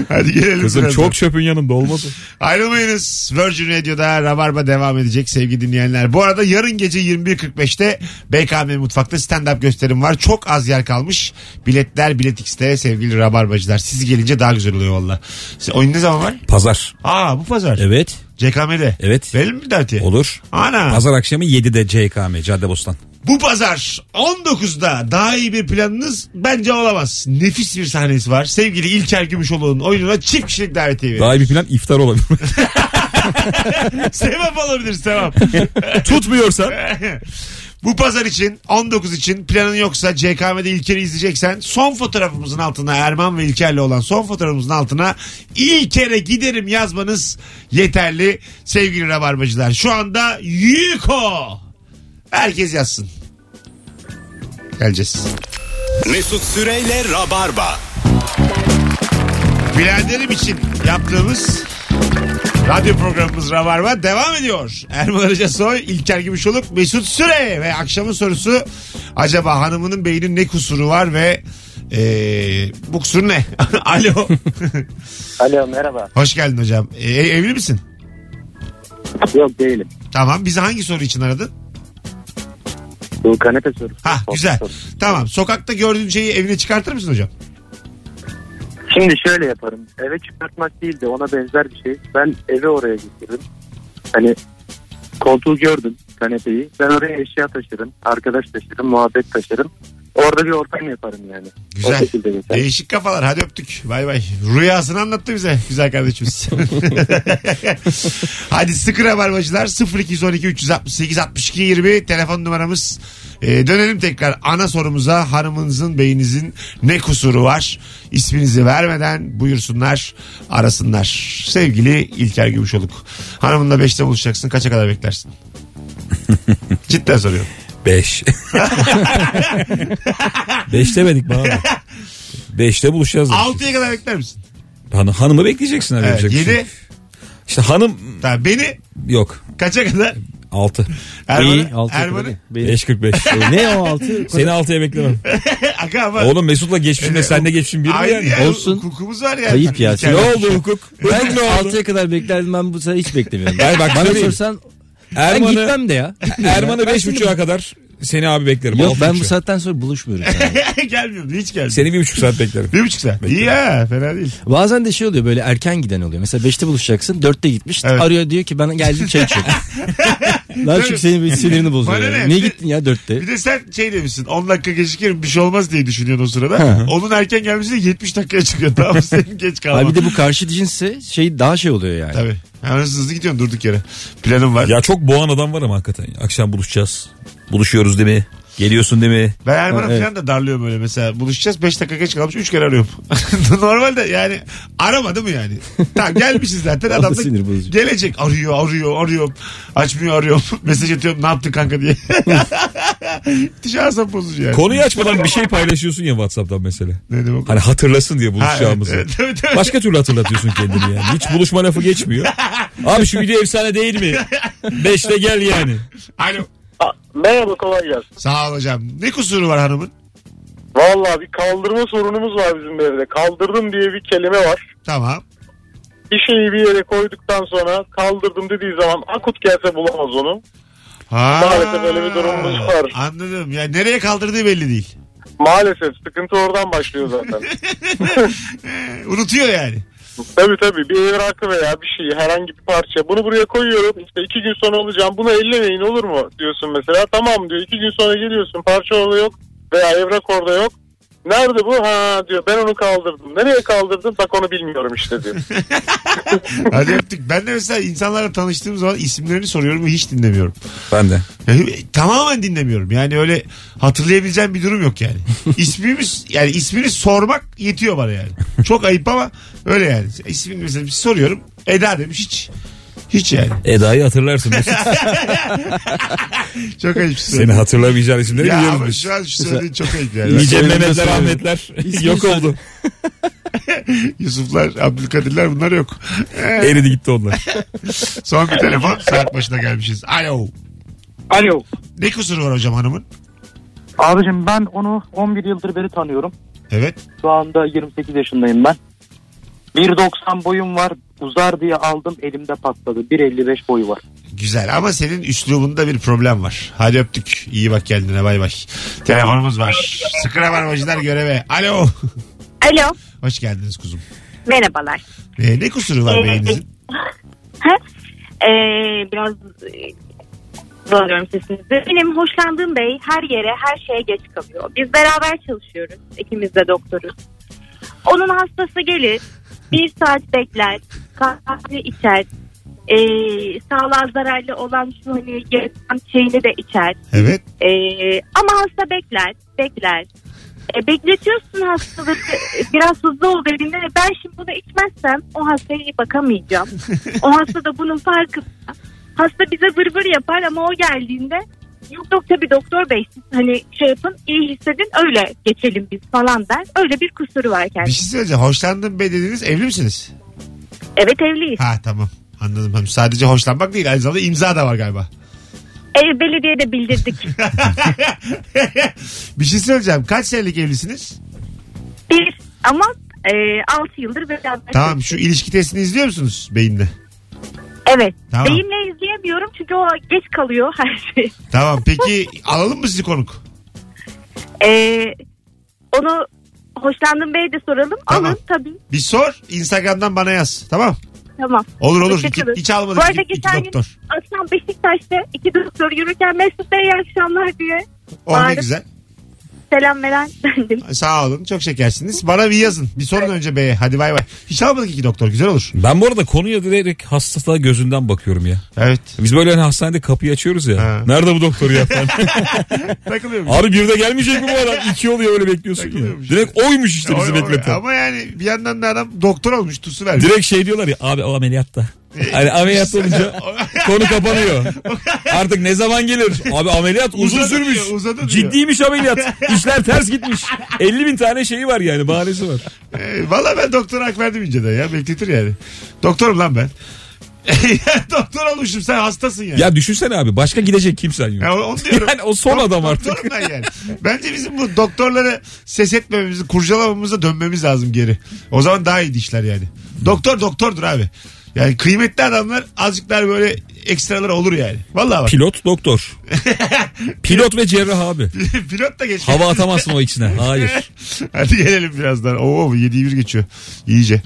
Speaker 2: Hadi gelelim.
Speaker 3: Kızım
Speaker 2: birazdan.
Speaker 3: çok çöpün yanında olmaz.
Speaker 2: Ayrılmayınız. Virgin Radio'da Rabarba devam edecek sevgili dinleyenler. Bu arada yarın gece 21.45'te BKM Mutfak'ta stand-up gösterim var. Çok az yer kalmış. Biletler Bilet X'te sevgili Rabarbacılar. Siz gelince daha güzel oluyor valla. Siz- Oyun ne zaman var?
Speaker 3: Pazar.
Speaker 2: Aa bu pazar.
Speaker 3: Evet.
Speaker 2: CKM'de.
Speaker 3: Evet.
Speaker 2: Verelim mi davetiye?
Speaker 3: Olur.
Speaker 2: Ana.
Speaker 3: Pazar akşamı 7'de CKM Caddebostan.
Speaker 2: Bu pazar 19'da daha iyi bir planınız bence olamaz. Nefis bir sahnesi var. Sevgili İlker Gümüşoğlu'nun oyununa çift kişilik davetiye veriyor.
Speaker 3: Daha iyi bir plan iftar olabilir.
Speaker 2: sevap olabilir sevap.
Speaker 3: Tutmuyorsan.
Speaker 2: Bu pazar için 19 için planın yoksa CKM'de İlker'i izleyeceksen son fotoğrafımızın altına Erman ve İlker'le olan son fotoğrafımızın altına İlker'e giderim yazmanız yeterli sevgili rabarbacılar. Şu anda Yuko. Herkes yazsın. Geleceğiz.
Speaker 1: Mesut Süreyle Rabarba.
Speaker 2: Biladerim için yaptığımız Radyo programımız Rabarba devam ediyor. Erman Arıca Soy, İlker Gümüşoluk, Mesut Süre ve akşamın sorusu acaba hanımının beyninin ne kusuru var ve eee bu kusur ne? Alo.
Speaker 7: Alo merhaba.
Speaker 2: Hoş geldin hocam. E, evli misin?
Speaker 7: Yok değilim.
Speaker 2: Tamam. Bizi hangi soru için aradın?
Speaker 7: Bu kanepe sorusu.
Speaker 2: Ha güzel. Tamam. Sokakta gördüğün şeyi evine çıkartır mısın hocam?
Speaker 7: Şimdi şöyle yaparım. Eve çıkartmak değil de ona benzer bir şey. Ben eve oraya getiririm. Hani koltuğu gördüm kanepeyi. Ben oraya eşya taşırım, arkadaş taşırım, muhabbet taşırım. Orada bir ortam yaparım yani. O
Speaker 2: Güzel.
Speaker 7: şekilde geçer.
Speaker 2: Değişik kafalar. Hadi öptük. Bay bay. Rüyasını anlattı bize güzel kardeşimiz. Hadi sıkı rabarbacılar 0212 368 62 20 telefon numaramız. Ee, dönelim tekrar ana sorumuza hanımınızın beyninizin ne kusuru var? İsminizi vermeden buyursunlar arasınlar. Sevgili İlker Gümüşoluk. Hanımınla 5'te buluşacaksın kaça kadar beklersin? Cidden soruyorum.
Speaker 3: 5. 5 demedik bana. bak. Beşte buluşacağız. demiş.
Speaker 2: 6'ya kadar bekler misin?
Speaker 3: Han- hanımı bekleyeceksin. abi,
Speaker 2: Evet,
Speaker 3: yapacak bir şey
Speaker 2: 7.
Speaker 3: yok. İşte hanım
Speaker 2: Tamam, beni
Speaker 3: yok.
Speaker 2: kaça kadar?
Speaker 3: 6.
Speaker 2: Erman'ı,
Speaker 4: İyi, altı
Speaker 2: Erman'ı,
Speaker 4: yukarı. Benim-
Speaker 3: 5.45.
Speaker 4: ne o altı?
Speaker 3: Seni 6'ya beklemem.
Speaker 2: Aga ama.
Speaker 3: Oğlum Mesut'la geçmişimle senle geçmişim bir mi
Speaker 2: Aynı
Speaker 3: yani?
Speaker 2: yani.
Speaker 4: Olsun.
Speaker 2: Hukukumuz var yani.
Speaker 4: Ayıp ya.
Speaker 2: İlker-
Speaker 3: Ne oldu hukuk?
Speaker 4: Ben 6'ya kadar beklerdim ben bu sefer hiç beklemiyorum.
Speaker 3: Hayır, bak,
Speaker 4: Bana
Speaker 3: söyleyeyim.
Speaker 4: sorsan ben
Speaker 3: Erman'ı
Speaker 4: gitmem de ya. Gitmiyorum
Speaker 3: Erman'ı
Speaker 4: ya. Ben
Speaker 3: 5.30'a kadar seni abi beklerim.
Speaker 4: Yok
Speaker 3: altı
Speaker 4: ben bu
Speaker 3: buçuğa.
Speaker 4: saatten sonra buluşmuyorum. yani.
Speaker 2: gelmiyorum. Hiç gelmiyorum.
Speaker 3: Seni bir buçuk saat beklerim.
Speaker 2: Bir buçuk saat. İyi ya. Fena değil.
Speaker 4: Bazen de şey oluyor böyle erken giden oluyor. Mesela 5'te buluşacaksın 4'te gitmiş.
Speaker 2: Evet.
Speaker 4: Arıyor diyor ki ben geldim çay içiyorum. Lan
Speaker 2: Tabii.
Speaker 4: çünkü senin bir sinirini bozuyor.
Speaker 2: Bana ne?
Speaker 4: yani.
Speaker 2: Bir
Speaker 4: Niye
Speaker 2: de-
Speaker 4: gittin ya 4'te?
Speaker 2: Bir de sen şey demişsin 10 dakika gecikirim bir şey olmaz diye düşünüyorsun o sırada. Onun erken gelmesi de 70 dakikaya çıkıyor. Tamam senin geç kalman.
Speaker 4: Abi bir de bu karşı cinsse şey daha şey oluyor yani.
Speaker 2: Tabii. Yani hızlı hızlı gidiyorsun durduk yere. Planım var.
Speaker 3: Ya çok boğan adam var ama hakikaten. Akşam buluşacağız. Buluşuyoruz değil mi? Geliyorsun değil mi?
Speaker 2: Ben Erman'a
Speaker 4: evet.
Speaker 2: falan da darlıyorum öyle mesela. Buluşacağız 5 dakika geç kalmış 3 kere arıyorum. Normalde yani aramadı mı yani? Tamam gelmişiz zaten adam da
Speaker 4: sinir bozucu.
Speaker 2: gelecek. Arıyor arıyor arıyorum. Açmıyor arıyorum. Mesaj atıyorum ne yaptın kanka diye. Dışarı asap bozucu yani.
Speaker 3: Konuyu açmadan bir şey paylaşıyorsun ya Whatsapp'tan mesela.
Speaker 2: ne demek o?
Speaker 3: Hani hatırlasın diye
Speaker 2: Ha, evet,
Speaker 3: buluşacağımızı.
Speaker 2: evet, tabii, tabii.
Speaker 3: Başka türlü hatırlatıyorsun kendini yani. Hiç buluşma lafı geçmiyor. Abi şu video efsane değil mi? Beşte gel yani.
Speaker 2: Alo.
Speaker 7: Merhaba kolay gelsin.
Speaker 2: Sağ ol hocam. Ne kusuru var hanımın?
Speaker 7: Valla bir kaldırma sorunumuz var bizim evde. Kaldırdım diye bir kelime var.
Speaker 2: Tamam.
Speaker 7: Bir şeyi bir yere koyduktan sonra kaldırdım dediği zaman akut gelse bulamaz onu.
Speaker 2: Ha.
Speaker 7: Maalesef öyle bir durumumuz var.
Speaker 2: Anladım. Ya nereye kaldırdığı belli değil.
Speaker 7: Maalesef sıkıntı oradan başlıyor zaten.
Speaker 2: Ee, Unutuyor yani.
Speaker 7: tabii tabii bir evrakı veya bir şey herhangi bir parça. Bunu buraya koyuyorum işte iki gün sonra olacağım bunu ellemeyin olur mu diyorsun mesela. Tamam diyor iki gün sonra geliyorsun parça orada yok veya evrak orada yok. Nerede bu? Ha diyor ben onu kaldırdım. Nereye kaldırdım? Bak onu bilmiyorum işte diyor.
Speaker 2: Hadi öptük. Ben de mesela insanlarla tanıştığım zaman isimlerini soruyorum ve hiç dinlemiyorum.
Speaker 3: Ben de.
Speaker 2: Yani e, tamamen dinlemiyorum. Yani öyle hatırlayabileceğim bir durum yok yani. İsmimiz yani ismini sormak yetiyor bana yani. Çok ayıp ama öyle yani. İsmini mesela bir soruyorum. Eda demiş hiç. Hiç yani.
Speaker 3: Eda'yı hatırlarsın. Mesut.
Speaker 2: Çok ayıp.
Speaker 3: Seni hatırlamayacağın isimleri
Speaker 2: Ya
Speaker 3: biliyoruz
Speaker 2: ama
Speaker 3: biz.
Speaker 2: şu an şu söylediğin çok ayıp yani.
Speaker 3: Nice
Speaker 4: Soyadını
Speaker 3: Mehmetler,
Speaker 4: soruyorum.
Speaker 3: Ahmetler yok oldu.
Speaker 2: Yusuflar, Abdülkadirler bunlar yok.
Speaker 3: Eridi gitti onlar.
Speaker 2: Son bir telefon saat başına gelmişiz. Alo.
Speaker 7: Alo.
Speaker 2: Ne kusuru var hocam hanımın?
Speaker 7: Abicim ben onu 11 yıldır beri tanıyorum.
Speaker 2: Evet.
Speaker 7: Şu anda 28 yaşındayım ben. 1.90 boyum var. Uzar diye aldım elimde patladı. 1.55 boyu var.
Speaker 2: Güzel ama senin üslubunda bir problem var. Hadi öptük. İyi bak kendine bay bay. Telefonumuz var. Sıkıra barbacılar göreve. Alo.
Speaker 9: Alo.
Speaker 2: Hoş geldiniz kuzum.
Speaker 9: Merhabalar.
Speaker 2: Ee, ne kusuru var
Speaker 9: Evet.
Speaker 2: beyninizin?
Speaker 9: Ha? Ee, biraz e, zorluyorum sesinizi. Benim hoşlandığım bey her yere her şeye geç kalıyor. Biz beraber çalışıyoruz. İkimiz de doktoruz. Onun hastası gelir. Bir saat bekler. Kahve içer. Ee, sağlığa zararlı olan şu hani yaratan şeyini de içer.
Speaker 2: Evet.
Speaker 9: Ee, ama hasta bekler, bekler. E, bekletiyorsun hastalığı e, biraz hızlı ol dediğinde de ben şimdi bunu içmezsem o hastaya iyi bakamayacağım. O hasta da bunun farkında. Hasta bize vır vır yapar ama o geldiğinde yok yok tabii doktor bey siz hani şey yapın iyi hissedin öyle geçelim biz falan der. Öyle bir kusuru var
Speaker 2: Bir
Speaker 9: kendisi.
Speaker 2: şey söyleyeceğim. Hoşlandığım bey dediniz evli misiniz?
Speaker 9: Evet evliyiz.
Speaker 2: Ha tamam. Anladım. Hem sadece hoşlanmak değil aynı zamanda imza da var galiba.
Speaker 5: E, belediyede bildirdik.
Speaker 2: bir şey söyleyeceğim. Kaç senelik evlisiniz?
Speaker 5: Bir ama e, 6 yıldır beraber.
Speaker 2: Tamam şu ilişki testini izliyor musunuz beyinde?
Speaker 5: Evet.
Speaker 2: Tamam.
Speaker 5: Beyimle izleyemiyorum çünkü o geç kalıyor her şey.
Speaker 2: Tamam peki alalım mı sizi konuk?
Speaker 5: E, onu hoşlandığım beye de soralım.
Speaker 2: Tamam.
Speaker 5: Alın tabii.
Speaker 2: Bir sor Instagram'dan bana yaz. Tamam.
Speaker 5: Tamam.
Speaker 2: Olur olur. Hiç,
Speaker 5: Teşekkür
Speaker 2: hiç
Speaker 5: Bu
Speaker 2: almadık.
Speaker 5: arada
Speaker 2: İki, iki
Speaker 5: geçen gün-
Speaker 2: doktor.
Speaker 5: Akşam Beşiktaş'ta iki doktor yürürken Mesut Bey iyi akşamlar diye
Speaker 2: Oh ne
Speaker 5: Bağırıp-
Speaker 2: güzel.
Speaker 5: selam veren bendim.
Speaker 2: Sağ olun. Çok şekersiniz. Bana bir yazın. Bir sorun önce beye. Hadi bay bay. Hiç almadık iki doktor. Güzel olur.
Speaker 3: Ben bu arada konuya direkt hastalığa gözünden bakıyorum ya.
Speaker 2: Evet.
Speaker 3: Biz böyle hani hastanede kapıyı açıyoruz ya.
Speaker 2: Ha.
Speaker 3: Nerede bu doktor ya? falan.
Speaker 2: Takılıyor şey. muyuz?
Speaker 3: Abi bir de gelmeyecek mi bu adam? İki oluyor öyle bekliyorsun ya.
Speaker 2: Takılıyormuş.
Speaker 3: Direkt oymuş işte bizi
Speaker 2: Ama-
Speaker 3: bekleten.
Speaker 2: Ama yani bir yandan da adam doktor olmuş. Tusu vermiş.
Speaker 3: Direkt şey diyorlar ya abi o ameliyatta. Hani ameliyat olunca konu kapanıyor. Artık ne zaman gelir? Abi ameliyat uzun
Speaker 2: Uzadı
Speaker 3: sürmüş.
Speaker 2: diyor, uzadı diyor.
Speaker 3: Ciddiymiş ameliyat. İşler ters gitmiş. 50 bin tane şeyi var yani bahanesi var.
Speaker 2: Ee, Valla ben doktora hak verdim inceden ya. Bekletir yani. Doktorum lan ben. Ya doktor olmuşum sen hastasın yani.
Speaker 3: Ya düşünsene abi başka gidecek kimsen yok.
Speaker 2: Ya onu diyorum.
Speaker 3: Yani o son
Speaker 2: Dok-
Speaker 3: adam artık.
Speaker 2: doktorum ben yani. Bence bizim bu doktorlara ses etmememizi, kurcalamamıza dönmemiz lazım geri. O zaman daha iyi işler yani. Doktor doktordur abi. Yani kıymetli adamlar azıcık daha böyle ekstralar olur yani. Vallahi bak.
Speaker 3: Pilot doktor. Pilot ve cerrah abi.
Speaker 2: Pilot da geçti.
Speaker 3: Hava atamazsın o ikisine. Hayır.
Speaker 2: Hadi gelelim birazdan. Oo 7'yi bir geçiyor. İyice.